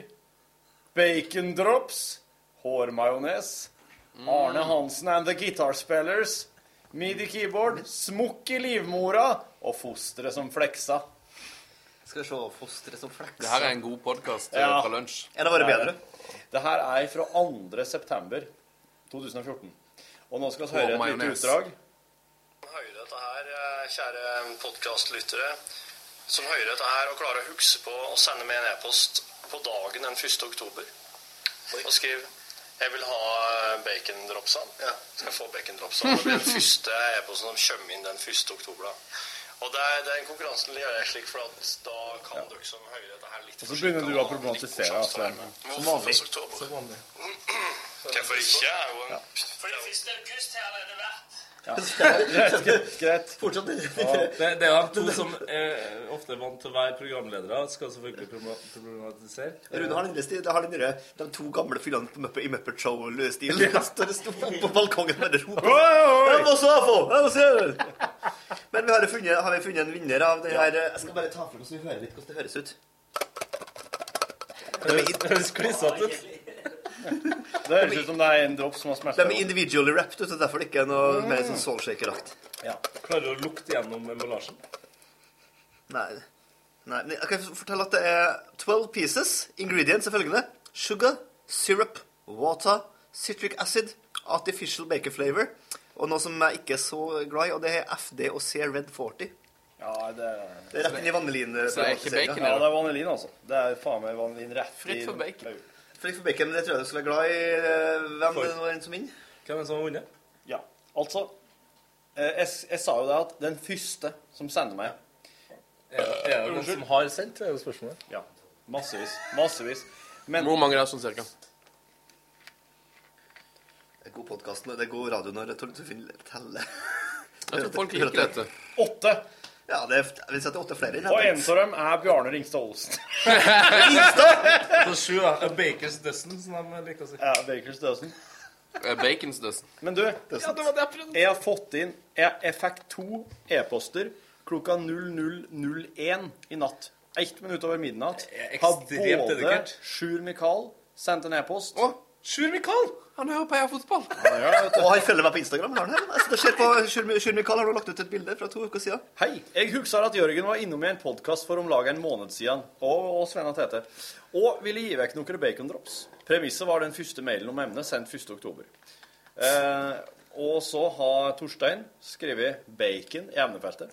bacon drops, hårmajones, Arne Mm. Hansen and the Guitar Spellers, midi keyboard, smokk i livmora og fostre som fleksa. Skal vi se Fostre som flekser. Det her er en god eh, podkast Ja. fra lunsj. Er det bare bedre? Det her er fra 2. september 2014. Og nå skal vi Og høre et lite majones. utdrag. hører dette her, eh, kjære podkastlyttere, som hører dette her og klarer å huske på å sende med en e-post på dagen den 1. oktober og skriv 'Jeg vil ha eh, bacondropsa'. Skal jeg få bacondropsa? Det blir den første e-posten som kommer inn den 1. oktober. da. Og det er, det er en konkurranse som gjør jeg slik, for at da kan dere som hører dette her litt Og så begynner du å problematisere. Altså, som vanlig. Hvorfor ikke? Det er jo en Ja. Greit, greit, greit. Fortsatt det, det er to som eh, ofte er vant til å være programledere, skal selvfølgelig problema- problematisere. Rune har den lille stil, har den lille, de to gamle fyllene på Muppet, i Muppet Show-stil. De står og står oppe på balkongen og bare roper. Oi, oi, oi! «Jeg må så få! Jeg må se!» Men vi har, jo funnet, har vi funnet en vinner av det her eh, Jeg skal bare ta for oss så vi hører litt hvordan det høres ut. Det høres klissete ut. Det høres ut som det er en drops som har smelta. De er individually wrapped, så derfor er det ikke er noe mer sånn soulshaker-akt. Ja. Klarer du å lukte gjennom emballasjen? Nei. Nei. men Jeg kan fortelle at det er 12 pieces. Ingredients er følgende. Sugar, syrup, water, citric acid, artificial bacon flavor, og noe som jeg ikke er så glad i, og det er FD og C Red 40. Ja, det er, Det er rett inn i vanilin. eh, problematiseringen. Ja, det er vanilin, altså. Det er faen meg vanilin rett Fritt for bacon. Fritt for bacon, men det tror jeg du skal være glad i. eh, Hvem For- det nå er en som vinner? Hvem er det som har vunnet? Ja, altså eh, jeg, s- jeg sa jo det at den første som sender meg Er det den Unnskyld. som har sendt, er jo spørsmålet. Ja. Massevis. Massevis. Men Hvor mange er det sånn cirka? Det er god podkast, det er god radio når Tor Torfinn teller. Jeg tror folk liker dette. Åtte! Ja, det er, jeg vil si at det er åtte flere. enn Og dette. en av dem er Bjarne Ringstad Olsen. Så sju, da. A Baker's Dozen, som de liker å si. Ja, Baker's Dozen. Bacons døsen. Men du, jeg har fått inn Jeg, jeg fikk to e-poster klokka 00.01 i natt. Ett minutt over midnatt. er Har ekstremt både dedikert. Sjur Mikael sendt en e-post Sjur Mikael! Han hører på Heia Fotball. Og han følger meg på Instagram. Har han her? Altså, det skjer på Sjur- Sjur Mikael har nå lagt ut et bilde fra to uker siden. Hei, jeg husker at Jørgen var innom i en podkast for om lag en måned siden, og, og Svenna Tete, og ville gi vekk noen bacondrops. Premisset var den første mailen om emnet, sendt 1. oktober. Eh, og så har Torstein skrevet 'bacon' i emnefeltet.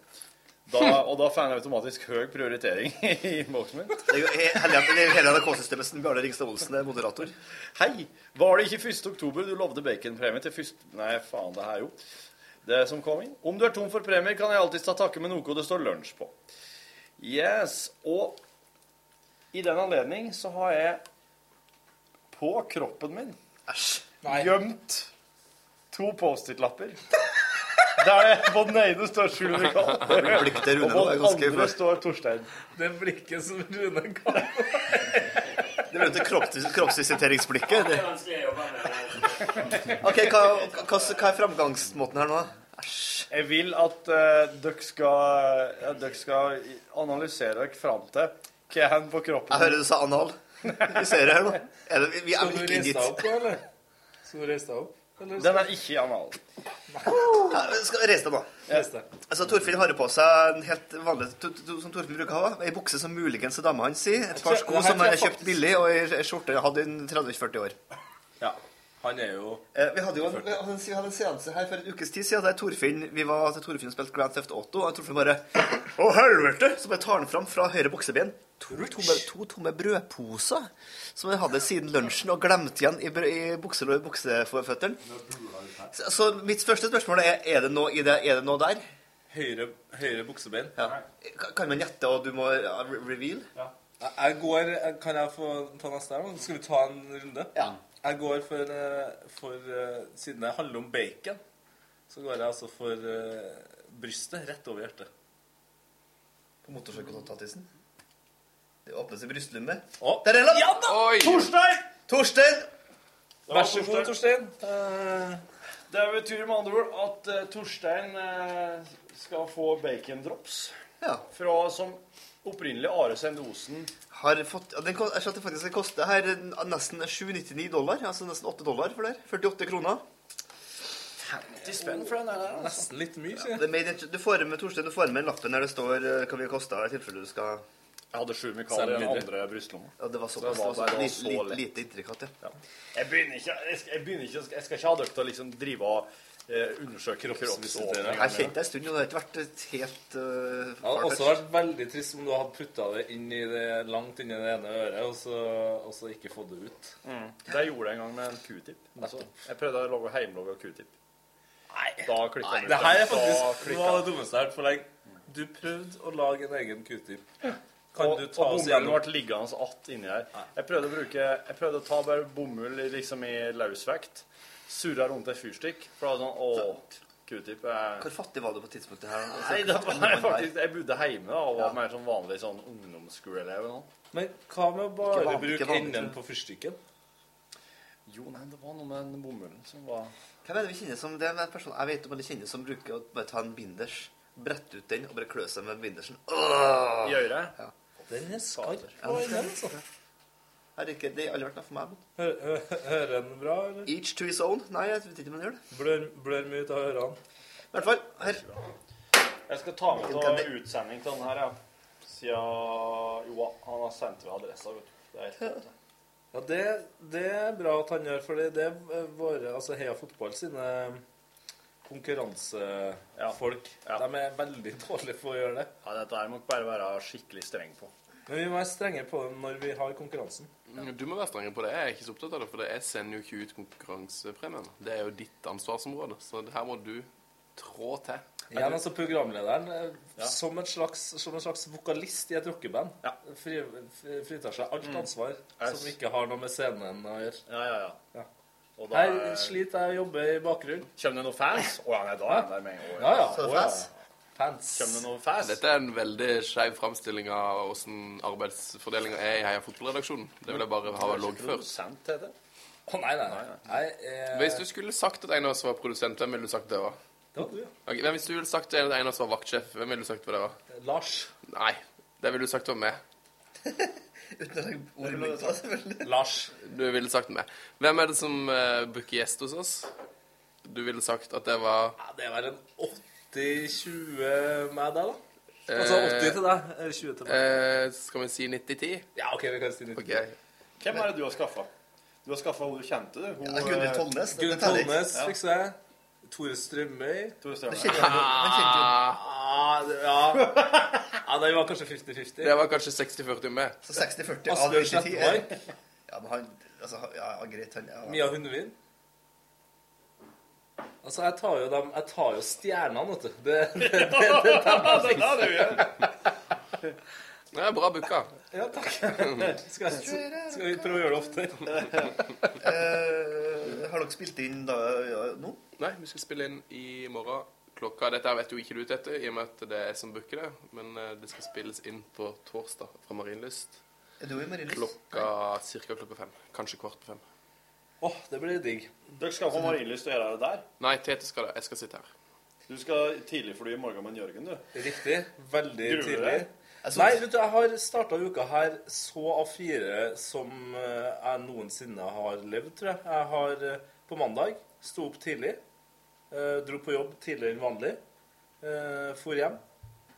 Da, og da får han automatisk høy prioritering i boksen min. Det er jo he- hele, det er jo hele NRK-systemet som Bjarne Ringstad Olsen er moderator. Hei! Var det ikke 1. oktober du lovde baconpremie til først... Nei, faen, det her jo. Det som kom inn. Om du er tom for premier, kan jeg alltids ta takke med noe det står lunsj på. Yes. Og i den anledning så har jeg på kroppen min gjemt to Post-It-lapper. Der det på den ene står Skjul Mikael, og Det blikket til Rune nå er på den ganske andre flott. står Torstein. Det blikket som Rune ga Det er jo dette kropp- kroppsvisiteringsblikket. Det. Ok, hva, hva, hva er framgangsmåten her nå? Jeg vil at eh, dere skal, ja, dere skal analysere dere fram til hva er han på kroppen Jeg hører du sa anal. Vi ser det her nå. Er det, vi er vel Skal du ikke inn reise dit. deg opp, da, eller? Skal du reise deg opp? Eller? Den er ikke anal. Ja, vi skal reise deg nå. Reis deg. Altså, Torfinn har på seg en helt vanlig to, to, som Torfinn bruker å ha. Ei bukse som muligens er dama hans i, et par Jeg tror- sko som jeg det her tror har jeg kjøpt billig, og ei ei skjorte jeg hadde i 30-40 år. Ja. Han er jo Eh, Vi hadde jo en, vi hadde en, vi hadde en seanse her for en ukes tid siden der Torfinn vi var til Torfinn spilte Grand Theft Auto, og Torfinn bare Å, helvete! Så bare tar han fram fra høyre bukseben to tomme, to tomme brødposer som han hadde siden lunsjen og glemte igjen i, brø- i bukselår- bukseføttene. Så, så mitt første spørsmål er er det noe i det, er det noe der? høyre, høyre buksebein. Ka- Kan man gjette, og du må ja, re- reveal? Jeg- Jeg går eh, Kan jeg få ta neste her? nå? Skal vi ta en runde? Ja. Jeg går for, eh, for eh, Siden det handler om bacon, så går jeg altså for eh, brystet rett over hjertet. På motorsykkeltattisen? Det åpnes i brystlommen. Å, Der er den! ja da! Oi! Torstein! Torstein! Vær så god, Torstein. eh, Det betyr med andre ord at eh, Torstein eh, skal få bacondrops. Fra som opprinnelig Are Sende Osen. Har fått, ja, den, ko- jeg ser at det faktisk koster her eh, nesten 7,99 dollar, altså nesten 8 dollar for det her. 48 kroner. 50 spenn for den der, altså. Nesten litt mye, sier jeg. Du får med Torstein, du får med lappen der det står eh, hva vi kosta, i tilfelle du skal Jeg hadde sju Mikael i den andre brystlomma. Ja, det var Så såpass. Det var, bare- det var lite, så lite, lett. lite intrikat, ja. Jeg begynner ikke Jeg skal, jeg begynner ikke, jeg skal ikke ha dere til å liksom drive og eh, undersøke kroppsvisitere. Jeg kjente det en stund, og det har ikke vært helt uh, Det hadde også vært veldig trist om du hadde putta det, inn i det langt inn i det ene øret, og så, og så ikke fått det ut. Det gjorde jeg en gang med en q-tip. Altså, Jeg prøvde å lage heimlogg av q-tip. Da klikka Nei, det her er faktisk noe av det dummeste jeg har hørt på lenge. Du prøvde å lage en egen q-tip. Kan og, du ta og oss bomullen gjennom ble liggende att inni her. Jeg prøvde å bruke Jeg prøvde å ta bare bomull i- liksom i løsvekt. Surra rundt ei fyrstikk. For da var det sånn Å, q-tip er Hvor fattig var du på tidspunktet her? Altså, Nei, det hvor var gammel jeg du er? faktisk Jeg bodde hjemme da, og var mer sånn vanlig sånn ungdomsskoleelev. eller noe. Men hva med å Ikke bare vanlig, ikke bruke vanlig, enden tror på fyrstikken? Jo, nei, det var noe med den bomullen som var Hvem er det vi kjenner som det er en person jeg vet om alle kjenner som bruker å bare ta en binders, brette ut den og bare klø seg med bindersen? Åh! I øret? Ja. Den er skarp. Ja, Oi, den er den, altså. Jeg har ikke, det har aldri vært noe for meg. men- Hø- hø- Hører den bra, eller? Each to his own? Nei, jeg vet ikke om han gjør det. Blør, blør mye ut av ørene. I hvert fall, her. Jeg skal ta med Kan det- til utsending til den her, ja. Siden Jo, han har sendt meg adressa, vet du. Det er helt godt. Ja, det, det er bra at han gjør, for det det er våre, altså Heia Fotball sine konkurransefolk. De er veldig dårlige på å gjøre det. Ja, dette her må dere bare være skikkelig streng på. Men vi må være strenge på dem når vi har konkurransen. Mm, Du må være strengere på det. Jeg er ikke så opptatt av det, for jeg sender jo ikke ut konkurransepremien. Det er jo ditt ansvarsområde, så det her må du trå til. Igjen altså programlederen eh, Ja. som, en slags, som en slags vokalist i et rockeband. Fri, fri- fritar seg alt Mm. ansvar Yes. som ikke har noe med scenen å gjøre. Ja, ja, ja. Og da Her er- sliter jeg å jobbe i bakgrunnen. Kommer det noe fans? Å ja, nei, da er det der med en gang. Ja, ja. Så Å, ja. fans? Fans. Kommer det noe fans? Dette er en veldig skeiv framstilling av hvordan arbeidsfordelinga er i Heia Fotballredaksjonen. Det vil jeg bare ha logg for. Produsent heter det. Å nei, nei, nei. nei eh, Hvis du skulle sagt at en av oss var produsent, hvem ville du sagt det var? Det var du, ja. Ok, men hvis du ville sagt at en av oss var vaktsjef, hvem ville du sagt var det var? Lars. Nei, det ville du sagt var meg. Lars. Du ville sagt meg. Hvem er det som eh, booker gjest hos oss? Du ville sagt at det var Ja, det var en 80-20 med deg, da. Altså 80 til deg, eller 20 til meg. Eh, skal vi si 90-10? Ja, OK, vi kan si 90. Ok. Hvem er det du har skaffa? Du har skaffa hun du kjente, du. Hun, Ja, Gunnhild eh, Tollnes. Gunn Dette er det. Tollnes Ja. fikser jeg. Tore Strømøy. Tore Det kjenner jeg jo. Det kjenner jeg jo. Ah, det- ja. ja, det var kanskje 50-50. Det var kanskje 60-40 med. Så 60-40 av Asbjørn 90 er- Slettmark. Ja, men han Altså, han- ja, ja, greit, han ja. Mia Hundvin. Altså, jeg tar jo dem Jeg tar jo stjernene, vet du. Det, det, det, det, det, Det er det du Det er bra booka. Ja, takk. Skal, jeg, skal vi prøve å gjøre det oftere? Eh, har dere spilt inn da ja, nå? Nei, vi skal spille inn i morgen klokka Dette her vet jo ikke du, Tete, i og med at det er jeg som booker det. Men eh, det skal spilles inn på torsdag fra Marienlyst. Er du i Marienlyst? Klokka cirka klokka fem. Kanskje kvart på fem. Åh, det blir digg. Dere skal på Marienlyst og gjøre det der? Nei, Tete skal det. Jeg skal sitte her. Du skal tidligfly i morgen med Jørgen, du. Riktig. Veldig Gruer du tidlig. deg? Jeg synes- Nei, vet du, jeg har starta uka her så A4 som eh, jeg noensinne har levd, tror jeg. Jeg har eh, på mandag sto opp tidlig, eh, dro på jobb tidligere enn vanlig, eh, for hjem,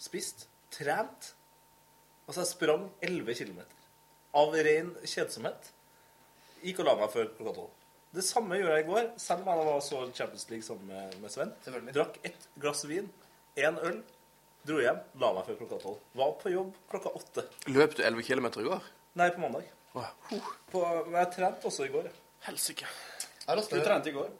spist, trent. Altså, jeg sprang 11 km av ren kjedsomhet. Gikk og la meg før klokka tolv. Det samme gjorde jeg i går, selv om jeg var så Champions League sammen med, med Sven. Drakk ett glass vin, én øl, dro hjem, la meg før klokka tolv. Var på jobb klokka åtte. Løp du 11 km i går? Nei, på mandag. Åh. På, men jeg trente også i går. jeg. Helsike. Du trente i går?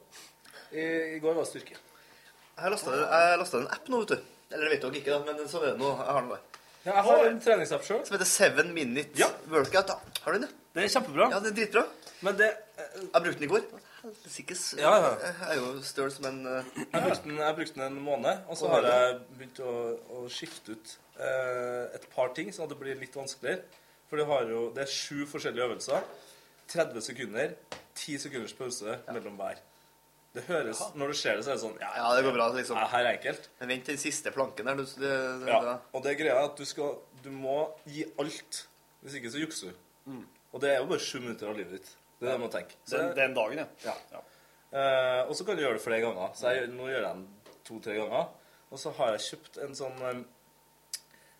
I, går var det styrke. Jeg lasta jeg lastet en app nå, vet du. Eller det vet dere ikke, da, men sånn er det nå. Jeg har den bare. jeg har en treningsapp sjøl. Som heter Seven Minute Workout. da. Har du den? Det er kjempebra. Ja, det er dritbra. Men det Jeg brukte den i går. Helsikes. Ja, ja. Jeg er jo støl som en eh, Jeg brukte den, jeg brukte den en måned, og så Å, har herlig. jeg begynt å, å skifte ut eh, et par ting, sånn at det blir litt vanskeligere. For det, har jo, det er sju forskjellige øvelser. 30 sekunder, 10 sekunders pause mellom hver. Det høres, Når du ser det, så er det sånn Ja, Ja, det går bra, liksom. Ja, her er enkelt. Men vent til den siste planken der. Du, det, det, Ja, og det greia er at du skal Du må gi alt. Hvis ikke så jukser du. Mm. Og det er jo bare sju minutter av livet ditt. Det er det man tenker. Den- den dagen, ja. Eh, og så kan du gjøre det flere ganger. Så jeg, nå gjør jeg den to-tre ganger. Og så har jeg kjøpt en sånn eh,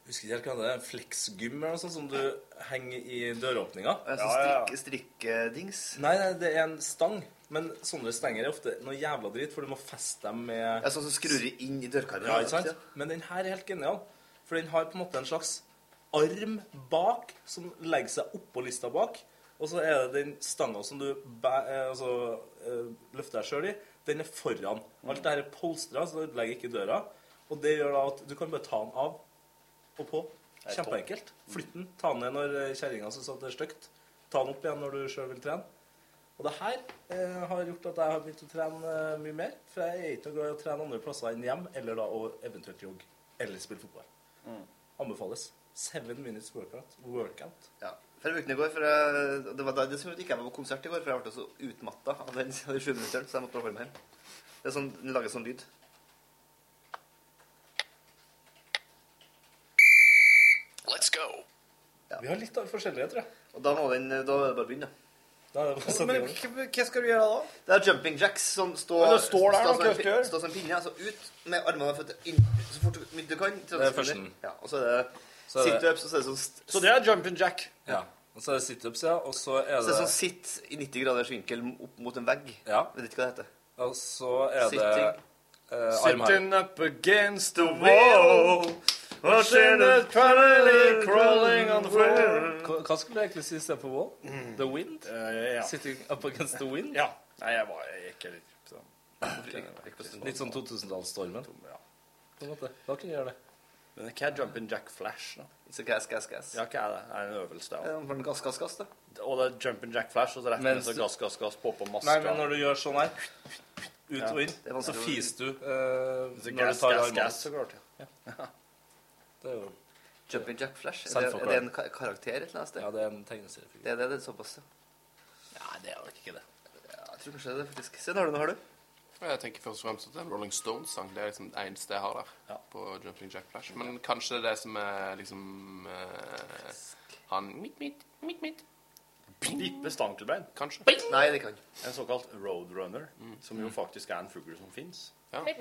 jeg husker ikke helt hva det er, en flexgym eller noe sånt som du henger i døråpninga. Ja, så strikke, strikkedings. Nei, nei, det er en stang. Men sånne stenger er ofte noe jævla drit, for du må feste dem med Ja, sånn som skrur du inn i dørkarmen, Ja, ja, ikke ikke sant? Men den her er helt genial. For den har på en måte en slags arm bak som legger seg oppå lista bak. Og så er det den stanga som du bæ, eh, altså, eh, løfter deg sjøl i, den er foran. Alt det her er polstra, så det ødelegger ikke døra. Og det gjør da at du kan bare ta den av og på. Det er topp. Kjempeenkelt. Flytte den. Ta den ned når eh, kjerringa syns at det er stygt. Ta den opp igjen når du sjøl vil trene. Og det her eh, har gjort at jeg har begynt å trene eh, mye mer. For jeg er ikke noe glad i å trene andre plasser enn hjem, eller da å eventuelt jogge. Eller spille fotball. Mm. Anbefales. Seven minutes workout. workout. Ja. For uken i går, for jeg, det var da- det som gjorde at jeg ikke var på konsert i går, for jeg ble så utmatta av den av de sju minutteren, så jeg måtte bare holde meg hjemme. Det er sånn, Den lager sånn lyd. Let's go. Vi har litt av forskjellige, tror jeg. Og da må den, da er det bare å begynne. Da er det bare Men hva hva skal du gjøre da? Det er jumping jacks som står, Men det står der, da, som en, hva pi- gjør? står som en pinne. Altså ut med armene og føttene inn så fort du- du kan. 30 Det er sekunder. førsten. Ja, og så er det Så er det- situps, og så er det sånn st- Så det er jump and jack. Ja. Og så er det situps, ja. Og så er Så det det er sånn sitt i 90 graders vinkel opp mot en vegg. Ja. Vet ikke hva det heter. Og så er det Sitting. eh, armhev. Sitting up against the wall. wall. Watching it finally crawling on the floor. Hva hva skulle du egentlig si i stedet for wall? The wind? Mm. Eh, ja. Sitting up against the wind? Ja. Nei, jeg var jeg gikk litt sånn. Litt sånn 2000-tallsstormen? Ja. På en måte. Da kunne jeg gjøre det. Men hva er jump and jack flash, da? It's a gas, gas, gas. Ja, hva er det? Er det en øvelse, Ja, da? for en gass, gass, gass, da. Og det er jump and jack flash, og så rett ned Mens så du- gass, gass, gass, på på maska. Nei, men når du gjør sånn her, ut Ja, og inn, det er vanskelig så å- fiser du eh, Så når du gass, tar gass, armene. gass, så klart, ja. Det er jo Jumping Jack Flash. Er det, er Selvforklarende. det en ka- karakter et eller annet sted? Ja, det er en tegneseriefigur. Det er det, det er såpass, ja. Nei, det er nok ikke det. Ja, Jeg tror kanskje det er det, faktisk. Se, nå har du noe, har du? Jeg tenker først og fremst at det er en Rolling Stones-sang. Det er liksom det eneste jeg har der. På Jumping Jack Flash. Men kanskje det er det som er liksom eh, Han mitt, mitt, mitt, mitt. Vippe stankelbein. Kanskje. Nei, det kan En såkalt roadrunner, Mm. som jo faktisk er en fugl som fins.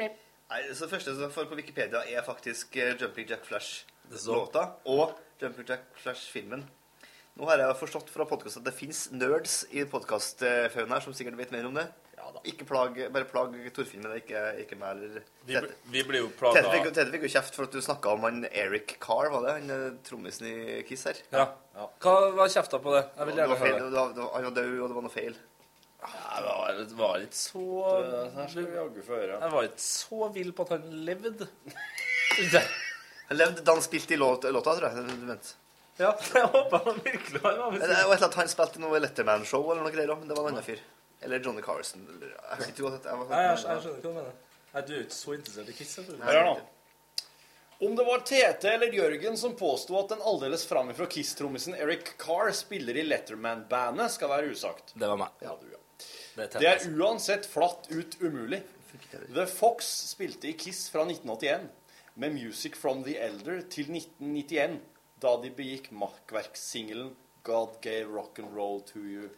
Nei, så det første som får på Wikipedia, er faktisk eh, Jumping Jack står- Flash-låta og Jumping Jack Flash-filmen. Nå har jeg forstått fra podkasten at det fins nerds i podkastfauna som sikkert vet mer om det. Ikke plag, bare plag Torfinn med det, ikke, ikke meg eller Vi, Tete. bl- vi blir jo Tete plaga fikk, jo- Tete fikk jo kjeft for at du snakka om han Eric Carr, var det? Han eh, trommisen i Kiss her. Ja. Hva var kjefta på det? Jeg Det vil gjerne var feil, høre det det. var, det var, han var død, og det var noe feil. Ja, Det var, det var ikke så Jeg var ikke så vill på at han levde. Han levde da han spilte i låt, låta, tror jeg. Du mente. Ja, jeg håper han virkelig har Men Det var et eller annet han spilte i noe Letterman-show eller noe greier også, men det var en annen fyr. Eller Johnny Carson. Eller, jeg vet ikke hva det Nei, jeg, var. jeg skjønner ikke hva du mener. Nei, du er jo ikke så interessert i Kiss. selvfølgelig. Hør her nå. Om det var Tete eller Jørgen som påsto at den aldeles framifrå Kiss-trommisen Eric Carr spiller i Letterman-bandet, skal være usagt. Det var meg. Ja, du, ja. Det er Det tett. er uansett flatt ut umulig. The Fox spilte i Kiss fra 1981, med Music from the Elder til 1991, da de begikk makkverkssingelen God Gave Rock and Roll to You.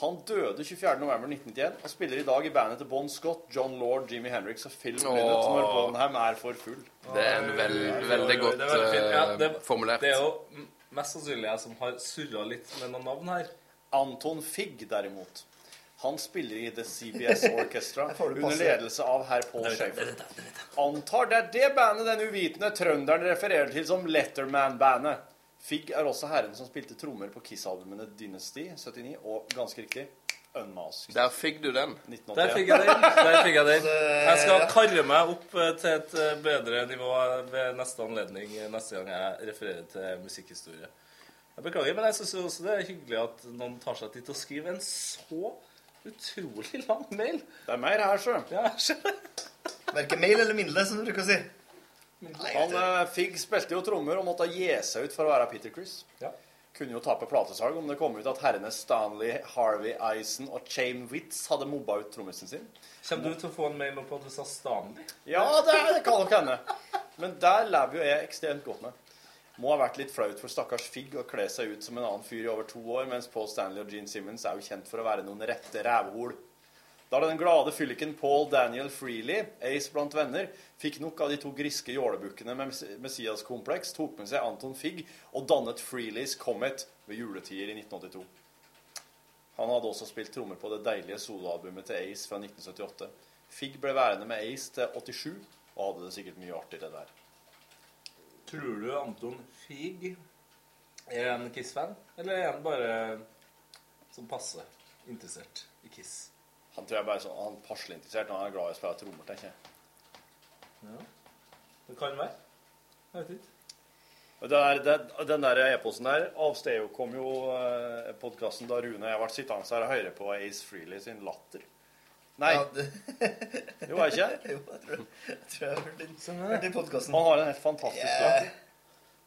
Han døde 24.11.1991 og spiller i dag i bandet til Bon Scott, John Lord, Jimmy Henriks og Phil Lynott når Bonham er for full. Det er en vel, veldig Oi, oi, oi, godt det er veldig fint. Ja, eh, det- formulert. Det er jo m- mest sannsynlig jeg som har surra litt med noen navn her. Anton Figg, derimot. Han spiller i The CBS Orchestra Her får du under passe. ledelse av herr Paul Det vet jeg, Schaefer. Antar det er det bandet den uvitende trønderen refererer til som Letterman-bandet. Figg er også herren som spilte trommer på Kiss-albumene Dynasty 79 og, ganske riktig, Unmasked. Der fikk du den. Der fikk jeg den. Der fikk Jeg den. Jeg skal karre meg opp eh, til et eh, bedre nivå ved neste anledning, eh, neste gang jeg refererer til musikkhistorie. Jeg beklager, men jeg syns også det er hyggelig at noen tar seg tid til å skrive en så utrolig lang mail. Det er mer her, sjø. Ja, jeg skjønner. Verken mail eller mindre, som du bruker å si. Han eh, Figg spilte jo trommer og måtte gi seg ut for å være Peter Chris. kunne jo tape platesalg om det kom ut at herrene Stanley, Harvey Eisen og Chame Witz hadde mobba ut trommisen sin. Kommer du til å få en mail om at du sa Stanley? Ja, det, det kan nok hende. Men der lever jo jeg ekstremt godt med. Må ha vært litt flaut for stakkars Figg å kle seg ut som en annen fyr i over to år, mens Paul Stanley og Gene Simmons er jo kjent for å være noen rette rævhol. Da den glade fylliken Paul Daniel Freely, ace blant venner, fikk nok av de to griske jålebukkene med Mess- Messias-kompleks, tok med seg Anton Figg og dannet Freelys Comet ved juletider i 1982. Han hadde også spilt trommer på det deilige soloalbumet til Ace fra 1978. Figg ble værende med Ace til 87, og hadde det sikkert mye artigere der. Tror du Anton Fig er en Kiss-fan, eller er han bare som passe interessert i Kiss? Han tror jeg bare er sånn, han er passelig interessert, og han er glad i å spille trommer, tenker jeg. Ja. Det kan være. Jeg vet ikke. Og Det er, det, den der e-posten der avsted jo kom jo eh, podkasten da Rune og jeg ble sittende her og høre på Ace Freely sin latter. Nei. jo, er ikke jeg? Jo, jeg tror, jeg tror jeg har hørt den, hørt den podkasten. Han har en helt fantastisk latter.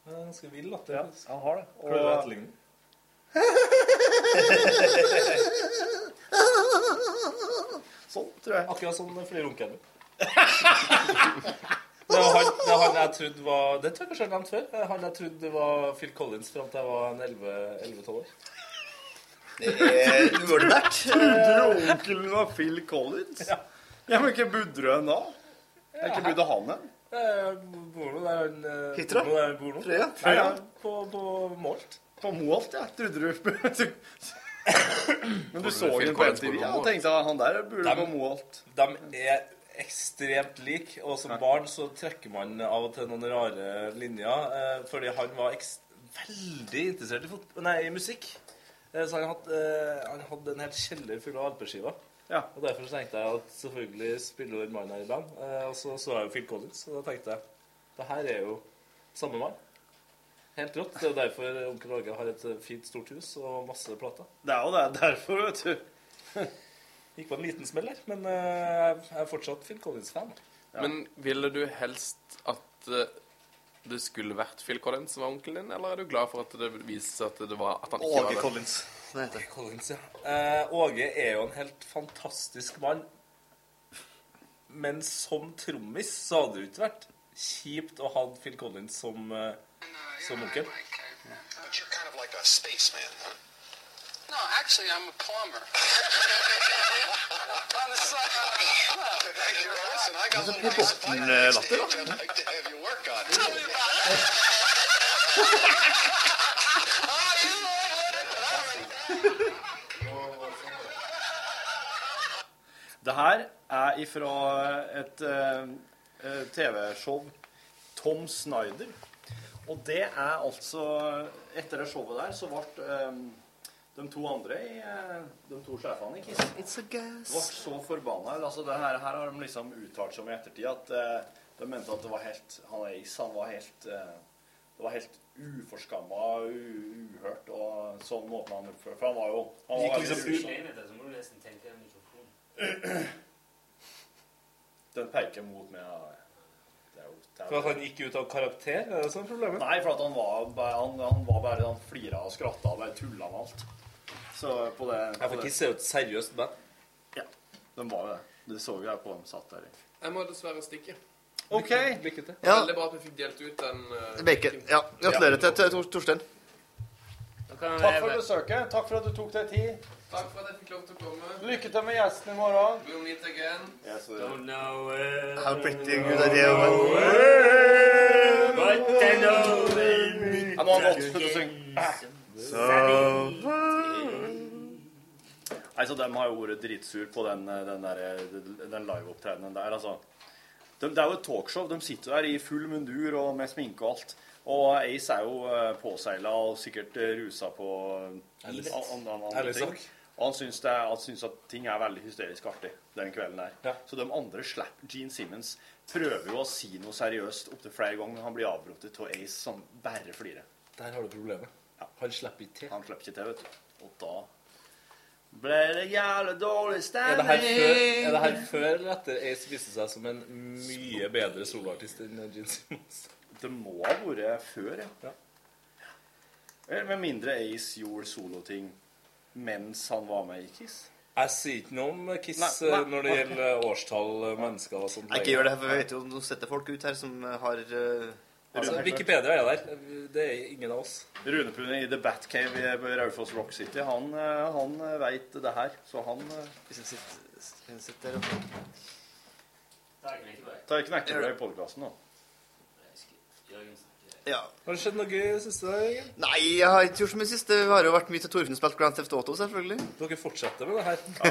Det er Ganske vill latter. Ja, han har det. Klarer du å etterligne? Sånn, tror jeg. Akkurat som sånn flere runkene. Det var han, det var han jeg trodde var Det tror jeg kanskje jeg har nevnt før. Det er Han jeg trodde det var Phil Collins fram til jeg var en 11 11-12 år. Eh, uordinært. Trodde du onkelen var Phil Collins? Ja. men ikke budde du en da? Er ikke budde han en? Jeg Eh, bor nå der han eh, Hitra? bor nå der han bor nå. Nei, ja, Frøya? Frøya? på, på Målt. På Moholt, ja. Trodde du Men du så Phil jo på Collins bor på MTV ja, og Moholt. tenkte at han der burde Dem- på Moholt. De er ekstremt like, og som barn så trekker man av og til noen rare linjer. Eh, fordi han var eks veldig interessert i, fot- nei, i musikk. Eh, så han hadde, eh, han hadde en hel kjeller full av alpeskiver. Og derfor så tenkte jeg at selvfølgelig spiller den mannen her i band. Eh, og så så jeg jo Phil Collins, og da tenkte jeg det her er jo samme mann. Helt rått. Det er jo derfor onkel Åge har et eh, fint, stort hus og masse plater. Det er jo det. Derfor, vet du. Gikk på en liten smell der, men eh, jeg er fortsatt Phil Collins-fan. Men ville du helst at eh, det skulle vært Phil Collins som var onkelen din, eller er du glad for at det viser seg at, det var, at han ikke var det? Det heter Collins, ja. Eh, Åge er jo en helt fantastisk mann. Men som trommis så hadde det ikke vært kjipt å ha Phil Collins som, eh, som onkel. But you're kind of like a spaceman, huh? No, actually, I'm a plumber. On the side. Listen, I got one nice fire latter, stage I'd like to have you work on. Tell me about it. Det her er ifra et eh, eh, TV-show Tom Snyder. Og det er altså Etter det showet der så ble eh, de to andre i eh, De to sjefene i Kiss It's a guess. ble så forbanna. Altså, det her, her har de liksom uttalt seg om i ettertid at eh, de mente at det var helt Han Ace, han var helt eh, Det var helt uforskamma, u- uhørt, og sånn måten han oppførte For han var jo han var liksom veldig usam. Den peker mot meg. ja. Det er jo, det er jo- For at han gikk ut av karakter? Er det sånn problemet? Nei, for at han var, bare- han, han var bare Han flira og skratta og bare tulla med alt. Så på det Ja, for Kiss er jo et seriøst band. Ja, de var jo det. Du så jo her på dem satt der. Jeg må dessverre stikke. OK. Ja. Veldig bra at vi fikk delt ut den eh, Bacon. Ja, gratulerer til til Tor- Torstein. Takk for besøket. Takk for at du tok deg tid. Takk for at jeg fikk lov til å komme. Lykke til med gjesten i morgen. We'll meet again. Don't know where, How pretty good idea. man. but I know when Jeg må ha en godt slutt å Ah. synge. Nei, så dem har jo vært dritsur på den, eh, den, der, eh, den liveopptredenen der, altså. De, det er jo et talkshow. De sitter jo der i full mundur og med sminke og alt. Og Ace er jo eh, påseila og sikkert eh, rusa på eh, Ærlig an- an- an- andre Ærlig ting. sak. Og han syns, det, er- han syns at ting er veldig hysterisk artig den kvelden der. Så de andre slipper Gene Simmons. Prøver jo å si noe seriøst opptil flere ganger. Han blir avbrutt av Ace som bare flirer. Der har du problemet. Han slipper ikke til. Han slipper ikke til, vet du. Og da ble det jævlig dårlig Er det stemning. her før, er det her før eller etter Ace viste seg som en mye bedre soloartist enn Gene Simmons? Det må ha vært før, ja. Eller Med mindre Ace gjorde soloting mens han var med i Kiss. Jeg sier ikke noe om Kiss Nei, nei. eh, når det gjelder årstall, eh, mennesker og sånt. Nei, ikke gjør det, for vi vet jo nå setter folk ut her som har eh, Altså, Rune- Wikipedia er der. Det er ingen av oss. Rune Pune i The Batcave i på Raufoss Rock City, han, eh, han veit det her, så han eh, tar knekkebrød i podkasten nå. Ja. Har det skjedd noe i siste? Jørgen? Nei, jeg har ikke gjort så mye sist. Det har jo vært mye til Torfinn spilt Grand Theft Auto, selvfølgelig. Dere fortsetter med det her?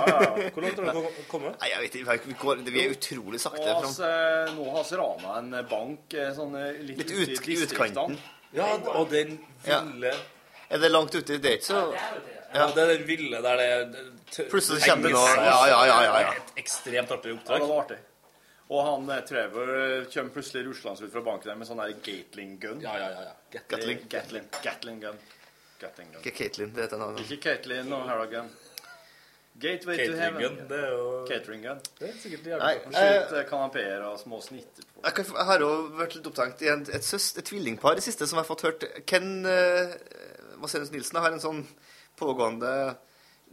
Hvor langt har dere kommet? Nei, jeg vet ikke. Vi, går, vi er utrolig sakte Og fram. altså, nå har vi rana en bank eh, sånn, eh, litt, Litt ute i ut, i distriktene. utkanten. Ja, og den ville Er det langt ute? Det er ikke så Ja, det er den ville der det er tø- Plutselig så kommer det noe- engelsk- ja, ja, ja, ja, ja. Et ekstremt artig Ja, oppdrag. det var artig. Og han eh, Trevor eh, kommer plutselig ruslende ut fra banken der med sånn der Gatling gun. Ja, ja, ja, Gatling. Gatling, Gatling gun. Gatling gun. Ikke Katelyn, det heter navnet. Ikke Caitlyn og Hara gun. Gateway Catering to heaven. gun, det er jo Catering gun. Det er sikkert Nei, jævlig eh, Slutt eh, kanapéer og små snitter. Jeg, kan, jeg har jo vært litt opptenkt i en, et, søs, et tvillingpar i siste som jeg har fått hørt. Ken uh, Vasenius Nilsen har en sånn pågående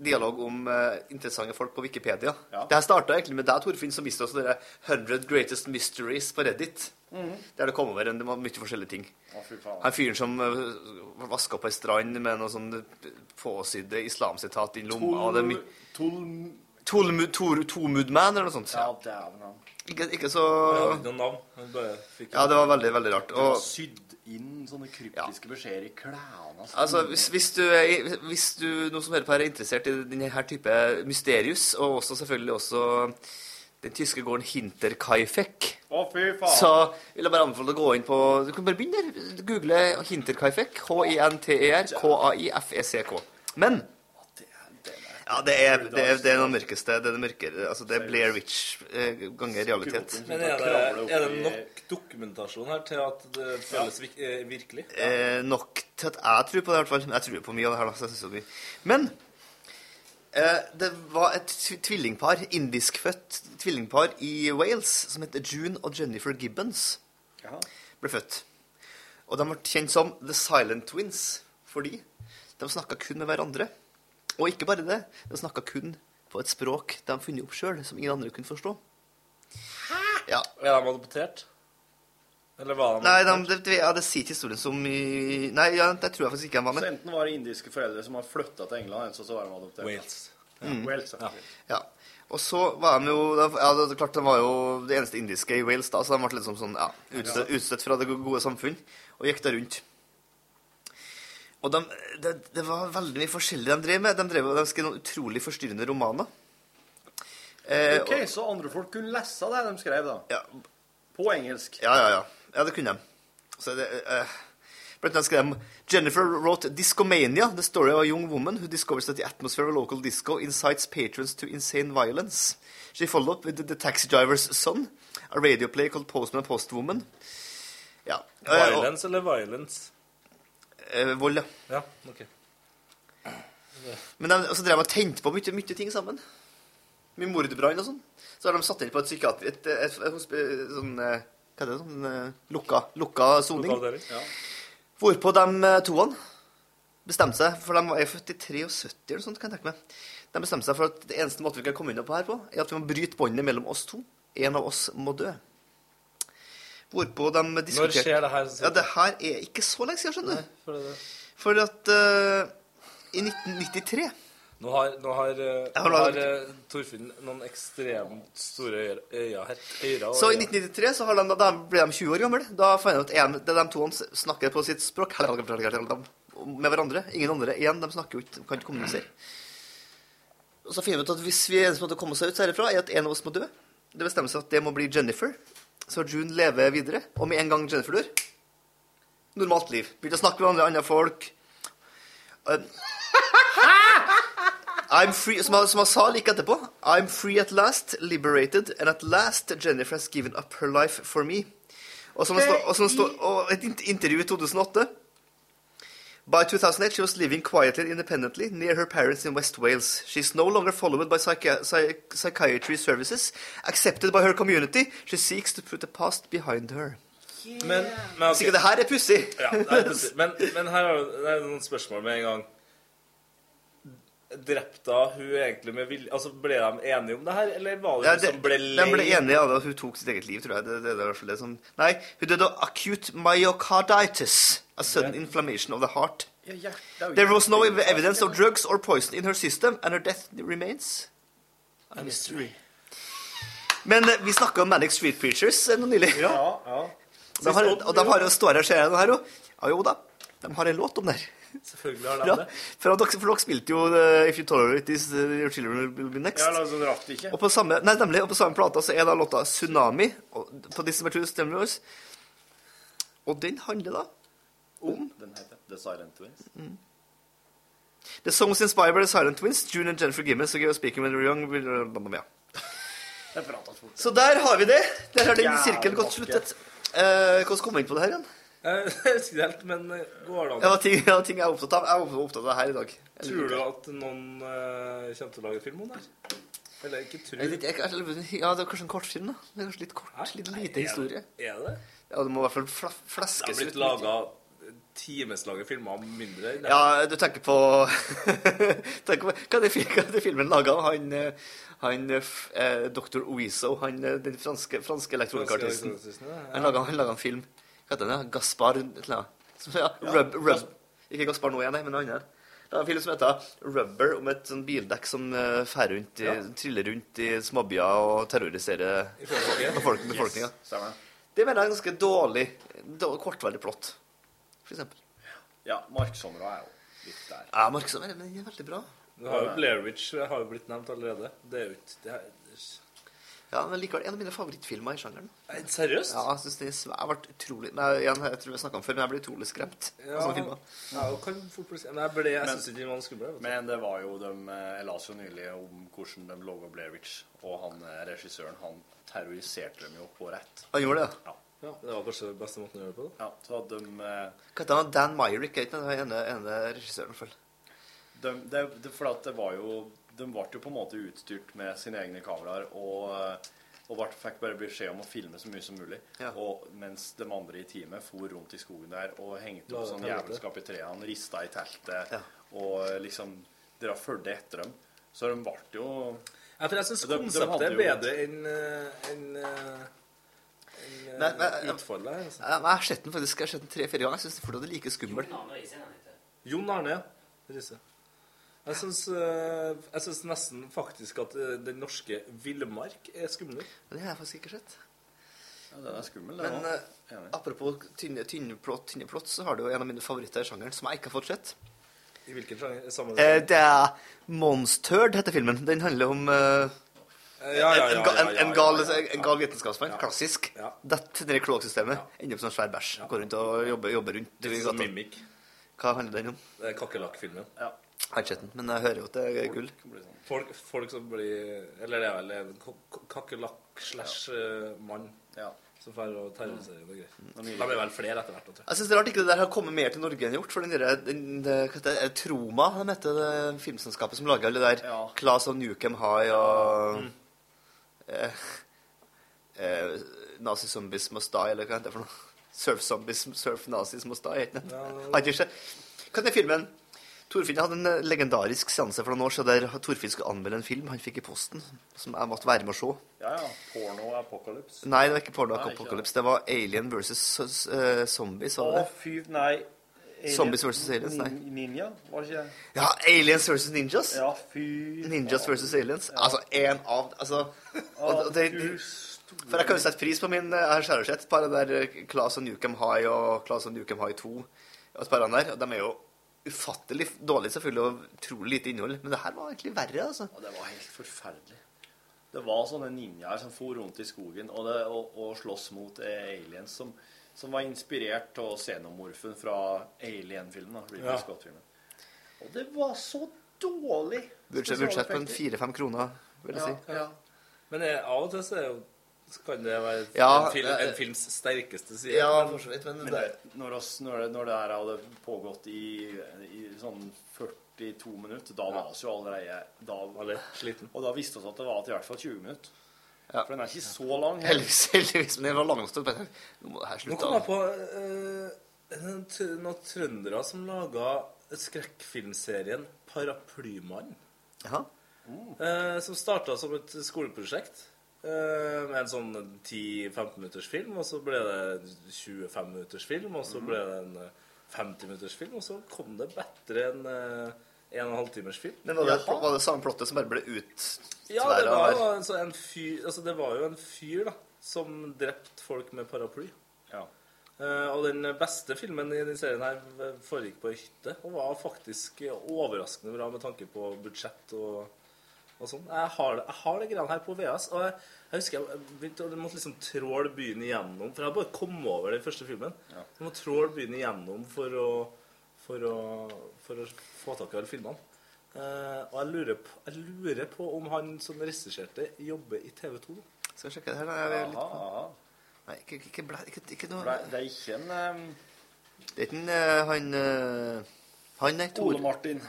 dialog om eh, interessante folk på Wikipedia. Det her starta egentlig med deg, Torfinn, som viste oss det der 100 Greatest Mysteries på Reddit. Mhm. Der det kom over en, det var mye forskjellige ting. Å, fy faen. Han fyren som uh, vaska på ei strand med noe sånn påsydde islamsitat i lomma og det er my- Tolm... Tolmu- Tor- Tomudman eller noe sånt. Ja, dæven han. Ikke, ikke så Jeg hadde ikke noen navn. Jeg bare fikk Ja, det var veldig, veldig rart. Det var Og sydd inn sånne kryptiske beskjeder i klærne. Altså, hvis, hvis, du er, i- hvis du, noen som hører på her, er interessert i denne her type mysterius, og også selvfølgelig også den tyske gården Hinterkaifeck, Å, fy faen. så vil jeg bare anbefale deg å gå inn på Du kan bare begynne der. Google Hinterkaifeck. E H-I-N-T-E-R-K-A-I-F-E-C-K. E Men ja, det er det, er, det er noe mørkeste. Det er det mørkere. Altså, det er Blair Witch eh, ganger realitet. Men er det, er det nok dokumentasjon her til at det føles vik- eh, virkelig? Eh, nok til at jeg tror på det, i hvert fall. Jeg tror jo på mye av det her, da. Så jeg synes jo det er mye. Men eh, det var et tv- tvillingpar, indiskfødt tvillingpar i Wales, som het June og Jennifer Gibbons, ble født. Og de ble kjent som The Silent Twins fordi de snakka kun med hverandre. Og ikke bare det, de snakka kun på et språk de hadde funnet opp sjøl, som ingen andre kunne forstå. Ja. Er de adoptert? Eller var de Nei, de, det, det- ja, det sier ikke historien som i Nei, ja, det tror jeg faktisk ikke de var med. Så enten var det indiske foreldre som har flytta til England, eller så- så var de adoptert. Wales. Ja. Mm. Wales, ja. Ja. Og så var de jo da- ja, det, er klart de var jo det eneste indiske i Wales da, så de ble liksom sånn ja, utstøtt, utstøtt fra det gode samfunn og gikk da rundt. Og de, det, det var veldig mye forskjellig de drev med. De, drev, de skrev noen utrolig forstyrrende romaner. Eh, Ok, så andre folk kunne lese det de skrev, da. På engelsk. Ja, ja, ja. Ja, det kunne de. Så det, eh, blant annet skrev de Jennifer wrote Discomania, the story of a young woman who discovers that the atmosphere of local disco incites patrons to insane violence. She followed up with The Taxi Driver's Son, a radio play called Postman and Postwoman. Ja. eh, og- Violence eller violence? eh, vold, ja. Ja, ok. Men de, og så drev de og tente på mye, mye ting sammen. Mye mordbrann og sånn. Så har de satt inn på et psykiatri... Et, et, et, hosp- eh, sånn, eh, hva er det? Sånn eh, lukka, lukka soning. Avdeling? Ja. Hvorpå de eh, toene bestemte seg, for de er født i 73 eller sånt, kan jeg tenke meg. De bestemte seg for at det eneste måten vi kan komme unna på her på, er at vi må bryte båndet mellom oss to. En av oss må dø. Hvorpå de diskuterte skjer det her, sier Ja, det her er ikke så lenge siden, skjønner du. For det- For at eh, i 1993 Nå har, nå har, eh, Jeg har nå har laget- eh, Torfinn noen ekstremt store øyre- øyne her. Øyre og Så i øyne. 1993 så har de, da- da ble de 20 år gamle. Da fant jeg ut en, det er de to han snakker på sitt språk med hverandre. Ingen andre igjen. De snakker jo ikke, de kan ikke kommunisere. Og så finner vi ut at hvis vi eneste måte å komme seg ut herfra, er at en av oss må dø. Det bestemmer seg at det må bli Jennifer. Så June lever videre. Og med en gang Jennifer dør Normalt liv. Begynner å snakke med andre, andre folk. Eh, I'm free, som, han, som han sa like etterpå. I'm free at last, liberated, and at last Jennifer has given up her life for me. Og, som det står- og, som det står- og et int- intervju i 2008. By 2008, she was living quietly and independently near her parents in West Wales. She's no longer followed by psychi- psy- psychiatry services. Accepted by her community, she seeks to put the past behind her. Men, men ok. Sikkert det her er pussig. Ja, det er pussig. Men, men her er jo- det er noen spørsmål med en gang. Drepte hun egentlig med vilje Altså, Ble de enige om det her, eller var det Ja, hun det, som ble lei? de ble enige om at hun tok sitt eget liv, tror jeg. Det, det, det, er i hvert fall det som, nei, hun døde av acute myocarditis. A sudden inflammation of the heart. Ja, ja, det er jo- There was no evidence of drugs or poison in her system, and her death remains a mystery. Men eh, vi snakka om Manic Street Preachers eh, nå nylig. Ja, ja. De har, og de har jo står her, ser jeg den her òg. Ja, jo da, de har en låt om det her. Selvfølgelig har de Ja, det. for dere, for dere spilte jo eh, If You Tolerate This, eh, Your Children Will Be Next. Ja, la oss rart ikke. Og på samme, nei, nemlig, og på samme plata så er da låta Tsunami og, på December 2 Stemmer Wars. Og den handler da om Den heter The Silent Twins. mm, The songs inspired by the Silent Twins, June and Jennifer Gimmons, og Geo Speaking When They Were Young bla, bla, bla, bla, ja. Jeg pratet fort. Så der har vi det. Der har den Jævlig sirkelen godt bakke. sluttet. Eh, hvordan kom jeg inn på det her igjen? Eh, Jeg husker ikke helt, men eh, går det an? Det var ting, det var ting jeg er opptatt av. Jeg er opptatt av det her i dag. Eller- Tror du at noen eh, kommer til å lage film om det? her? Eller ikke tror Jeg vet ikke, jeg- jeg- Ja, det er kanskje en kortfilm, da. Det er kanskje litt kort, litt lite historie. Er det det? Ja, det må i hvert fall fla- Det har flaskes blitt ut. litt. laga timeslange filmer om mindre enn det. Ja, du tenker på, tenker på Hva er det, fil- hva er det filmen laga? Han, eh, han eh, f- eh, Dr. Oizo, han, eh, den franske, franske elektronikartisten. elektronikartisten, ja, ja. Han laga han laget en film. Hva heter den? da? Gaspar et eller annet. Som- ja, Rub, Rub. Ikke Gaspar nå igjen, nei, men en annen. Det er en film som heter Rubber, om et sånn bildekk som eh, fer rundt, i- Ja. triller rundt i småbyer og terroriserer folket. befolk- Yes, befolkninga. stemmer. Det mener jeg er ganske dårlig, dårlig kortveldig plott, for eksempel. Ja, Mark Somra er jo litt der. Ja, Mark Sommer, men den er veldig bra. Du har jo Blairwich har jo blitt nevnt allerede. Det er jo ikke det er, Ja, men likevel en av mine favorittfilmer i sjangeren. Seriøst? Ja, jeg synes det er svært, jeg ble utrolig Nei, igjen, jeg tror jeg snakket om før, men jeg ble utrolig skremt Ja, av sånne filmer. ja, og kan fort bli- Men jeg, ble- jeg Men- synes ikke den var skummel. vet du. Men det var jo de eh, Jeg leste jo nylig om hvordan de laga Blairwich. Og han eh, regissøren, han terroriserte dem jo på rett. Han gjorde det, ja? Ja, det var kanskje den beste måten å gjøre det på? da. Ja, så de, eh, Hva heter han? Dan Myrick, er ikke den ene, ene regissøren, følg. de, de, de, For at det var jo De ble jo på en måte utstyrt med sine egne kameraer. Og, eh, og ble, fikk bare beskjed om å filme så mye som mulig. Og mens de andre i teamet for rundt i skogen der og hengte La opp det sånn ta litt. jævelskap i trærne, rista i teltet og eh, liksom Dere fulgte etter dem. Så de ble jo Ja, for jeg syns De- de konseptet hadde er jo- bedre enn eh, enn eh, enn, eh, Nei, men- utfallet. her, altså. Ja, men jeg har sett den faktisk, jeg har sett den tre-fire ganger, jeg synes det fortsatt er like skummel. Jon Arne Riise. Jeg syns, eh, jeg syns nesten faktisk at eh, den norske villmark er skummel. Den har jeg faktisk ikke sett. Ja, den er skummel, den Men også. eh, apropos tynne, tynne, plott, tynne plott, så har du jo en av mine favoritter i sjangeren, som jeg ikke har fått sett. I hvilken sjanger? Samme Eh, det er Monsterd, heter filmen. Den handler om... eh, Eh, ja, ja, ja, en, en, ga- ja, ja, en, ja, en, gal, ja, ja. en gal vitenskapsmann. Klassisk. Dette ned i kloakksystemet. Ender opp som en svær bæsj. Går rundt og jobber, jobber rundt i Litt sånn gata. mimikk. Hva handler den om? Det er kakerlakkfilmen. Jeg har ikke sett den, men jeg hører jo at det er gull. sånn. Folk, folk som blir Eller det er vel en ko- ko- kakerlakk slash eh, mann som får å terrorisere noe greier. Mm. De blir vel flere etter hvert. da, tror Jeg synes det er rart ikke det der har kommet mer til Norge enn gjort. For den der, den, det, hva heter det, Troma, de heter det filmselskapet som lager alle det der. Class of Newcomb High og eh, eh, Nazi Zombies Must Die, eller hva heter det for noe? Surf Zombies, Surf Nazis Must Die, heter den. Ja, det- Har ikke skjedd. Hva heter filmen? Torfinn hadde en eh, legendarisk seanse for noen år siden der Torfinn skulle anmelde en film han fikk i posten, som jeg måtte være med å se. Ja, ja. Porno apocalypse. Nei, det var ikke Porno Nei, ikke Apocalypse. Det var Alien versus eh, Zombies. var det Å, det? fy Nei. Alien- Zombies versus aliens, nei. Nin- Ninja, var det ikke? Ja, Aliens versus Ninjas. Ja, fy Ninjas faen. versus Aliens. Altså, én av Altså og, og det, For jeg kan jo sette pris på min eh, Jeg har selv sett et par av de der eh, Class of Newcomb High og Class of Newcomb High 2. Og et par av de der. og De er jo ufattelig dårlige, selvfølgelig, og utrolig lite innhold. Men det her var egentlig verre, altså. Ja, det var helt forferdelig. Det var sånne ninjaer som for rundt i skogen og, det, og, og slåss mot eh, aliens som, som var inspirert av xenomorfen fra Alien-filmen. da, Ridley Ja. Scott-filmen. Og det var så dårlig! Budsjett budsjett på en fire-fem kroner, vil jeg si. Ja. Men eh, av og til så er jo så kan det være Ja, en, film, eh, en films sterkeste side. Ja, men- for så vidt, men Men det- det- når, oss, når, det, når det her hadde pågått i, i sånn 42 minutter, da var oss jo allerede da, sliten. Og da visste oss at det var til i hvert fall 20 minutter. For den er ikke så lang. Heldigvis, heldigvis, men den var lang stund. men Nå må det her Nå slutte. kom jeg på eh, en tr- noen trøndere som laga skrekkfilmserien Paraplymann. Jaha. Eh, som starta som et skoleprosjekt eh, med en sånn 10-15 minutters film, og så ble det en 25 minutters film, og så Mhm. ble det en eh, 50 minutters film, og så kom det bedre enn eh, en og en halv timers film. Men var det, Jaha. var det samme plottet som bare ble ut Ja, det var, jo en, så en fyr, altså det var jo en fyr da, som drepte folk med paraply. Eh, og den beste filmen i den serien her foregikk på ei hytte, og var faktisk overraskende bra med tanke på budsjett og, og sånn. Jeg har, det- jeg har det greiene her på VHS, og jeg, jeg husker jeg begynte, å- jeg måtte liksom tråle byen igjennom, for jeg bare kom over den første filmen. Jeg må tråle byen igjennom for å, for å, for å få tak i alle filmene. Eh, og jeg lurer, på, jeg lurer på om han som regisserte, jobber i TV 2. Skal jeg sjekke det her, da? Jeg er litt på- Nei, ikke, ikke, bla- ikke, ikke noe Nei, det er ikke en ehm, Det er ikke en, eh, han eh, Han er Tor. Ole Martin.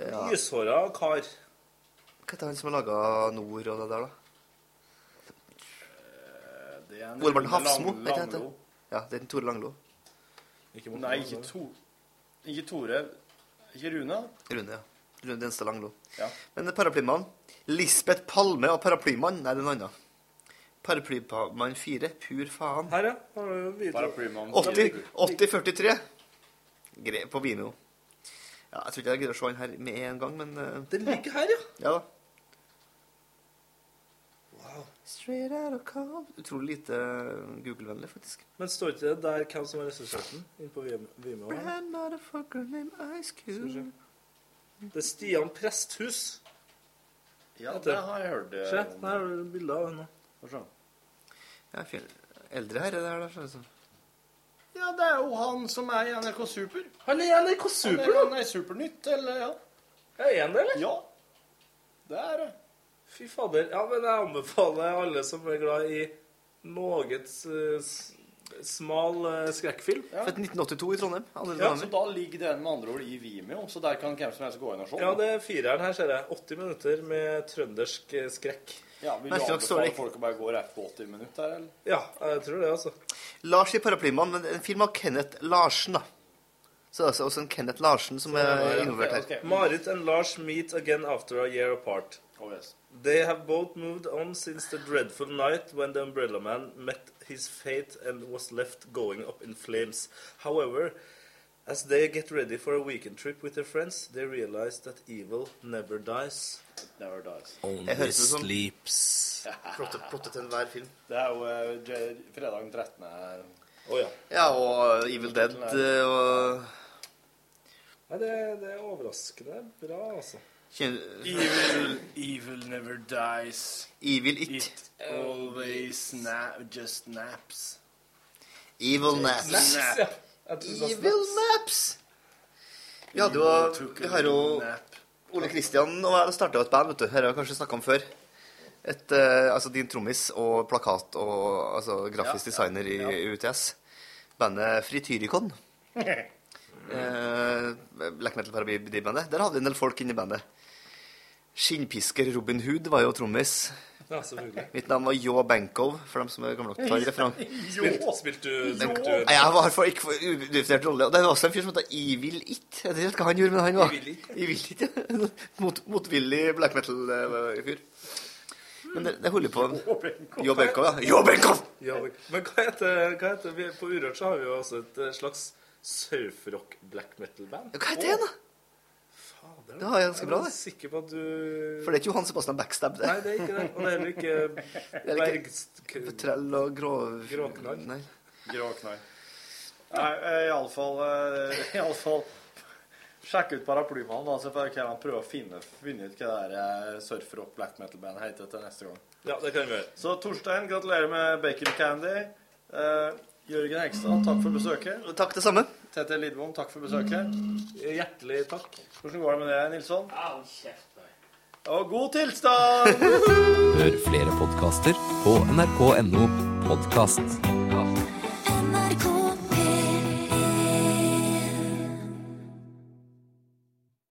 Ja. Lyshåra kar. Hva heter han som har laga Nord og det der, da? Det er en Ole Martin Lang- Hafsmo? vet jeg Langlo. ikke. Ja, det er den Tore Langlo. Nei, ikke, to, ikke Tore. Ikke Rune. Rune, ja. Rune Denstad Langlo. Ja. Men Paraplymannen Lisbeth Palme og Paraplymannen Nei, det er en annen. Paraplymann 4. Pur faen. Her, ja. Har du video? Paraplymann 80 80-43 Gre- på Vimeo. Ja, jeg tror ikke jeg gidder å se den her med en gang, men eh, Den ligger her, ja. Ja da. Straight out of Compton. Utrolig lite eh, Google-vennlig, faktisk. Men står ikke det der hvem som har regissert den? Inn på Vim- Vimeo? her? Brand motherfucker named Ice Cube. Det er Stian Presthus. Ja, Heter det har jeg hørt, eh, Se, om. der har du bilde av henne. Ja, fyr. Eldre herre, det her. da, altså. Ja, det er jo han som er i NRK Super. Han er i NRK Super, Super, da! Han er i Supernytt, eller ja. Er han det, eller? Ja. Det er det. Fy fader. Ja, men jeg anbefaler alle som er glad i noe eh, s- smal eh, skrekkfilm. Født 1982 i Trondheim. Andre Ja, damer. så da ligger den med andre ord i Vimeo, så der kan hvem som helst gå inn og se. Ja, det er fireren her, ser jeg. 80 minutter med trøndersk eh, skrekk. Ja, vil du Neste gang står det anbefale ikke- folk å bare gå rett på 80 minutter, eller? Ja, jeg tror det, altså. Lars i Paraplymann, men en film av Kenneth Larsen, da. Så det er altså også en Kenneth Larsen som er involvert her. Marit and Lars meet again after a year apart. Oh, yes. They have both moved on since the dreadful night when the Umbrella Man met his fate and was left going up in flames. However, as they get ready for a weekend trip with their friends, they realize that evil never dies. It never dies. Only sleeps. Plottet plottet til enhver film. Det er jo eh, J- fredag den 13. her. Ja, og eh, Evil Dead eh, og Nei, det, det er overraskende bra, altså. Evil, evil never dies. Evil It. always just naps. Evil Naps. Snap. Ja, jeg tror det sånn var Evil Naps! Vi hadde jo Vi har jo eh, Ole Kristian og jeg starta jo et band, vet du. Her har vi kanskje snakka om før. Et, eh, altså din trommis og plakat og altså, grafisk Ja, ja, designer i UTS. Bandet Frityrikon. Eh, Black Metal Parabib-bandet. Der hadde vi en del folk inne i bandet. Skinnpisker Robin Hood var jo trommis. Ja, selvfølgelig. Mitt navn var Yo Bankov, for dem som er gamle nok til å ta referanse. Spilt, spilt du, spilt du Nei, Jeg var for ikke for udefinert rolle. Og det var også en fyr som het Evil It. Jeg vet ikke hva han gjorde, men han var Evil It. Evil It, ja. Mot, motvillig black metal-fyr. Men det, det holder på Jo Benkow, ja. Jo Benkow! Ja, men- men hva heter, hva heter vi, På Urørt så har vi jo også et eh, slags surfrock black metal-band. Hva heter det, da? Det var ganske bra, Jeg er det. sikker på at du For det er ikke Johan Sebastian Backstab, det. Nei, det er ikke det. Og det er heller ikke Det er ikke- Bergst... Trell og grå... Gråknall. Nei. Grå knall. Nei, eh, i alle fall, eh, i alle fall Sjekk ut paraplymannen, da, så bare kan han prøve å finne, finne ut hva det der eh, surfrock black metal-bandet heter til neste gang. Ja, det kan vi gjøre. Så Torstein, gratulerer med bacon candy. Eh, Jørgen Hegstad, takk for besøket. Takk, det samme. Tete Lidbom, takk for besøket. Hjertelig takk. Hvordan går det med det, Nilsson? Og god tilstand! Hør flere podkaster på nrk.no podkast.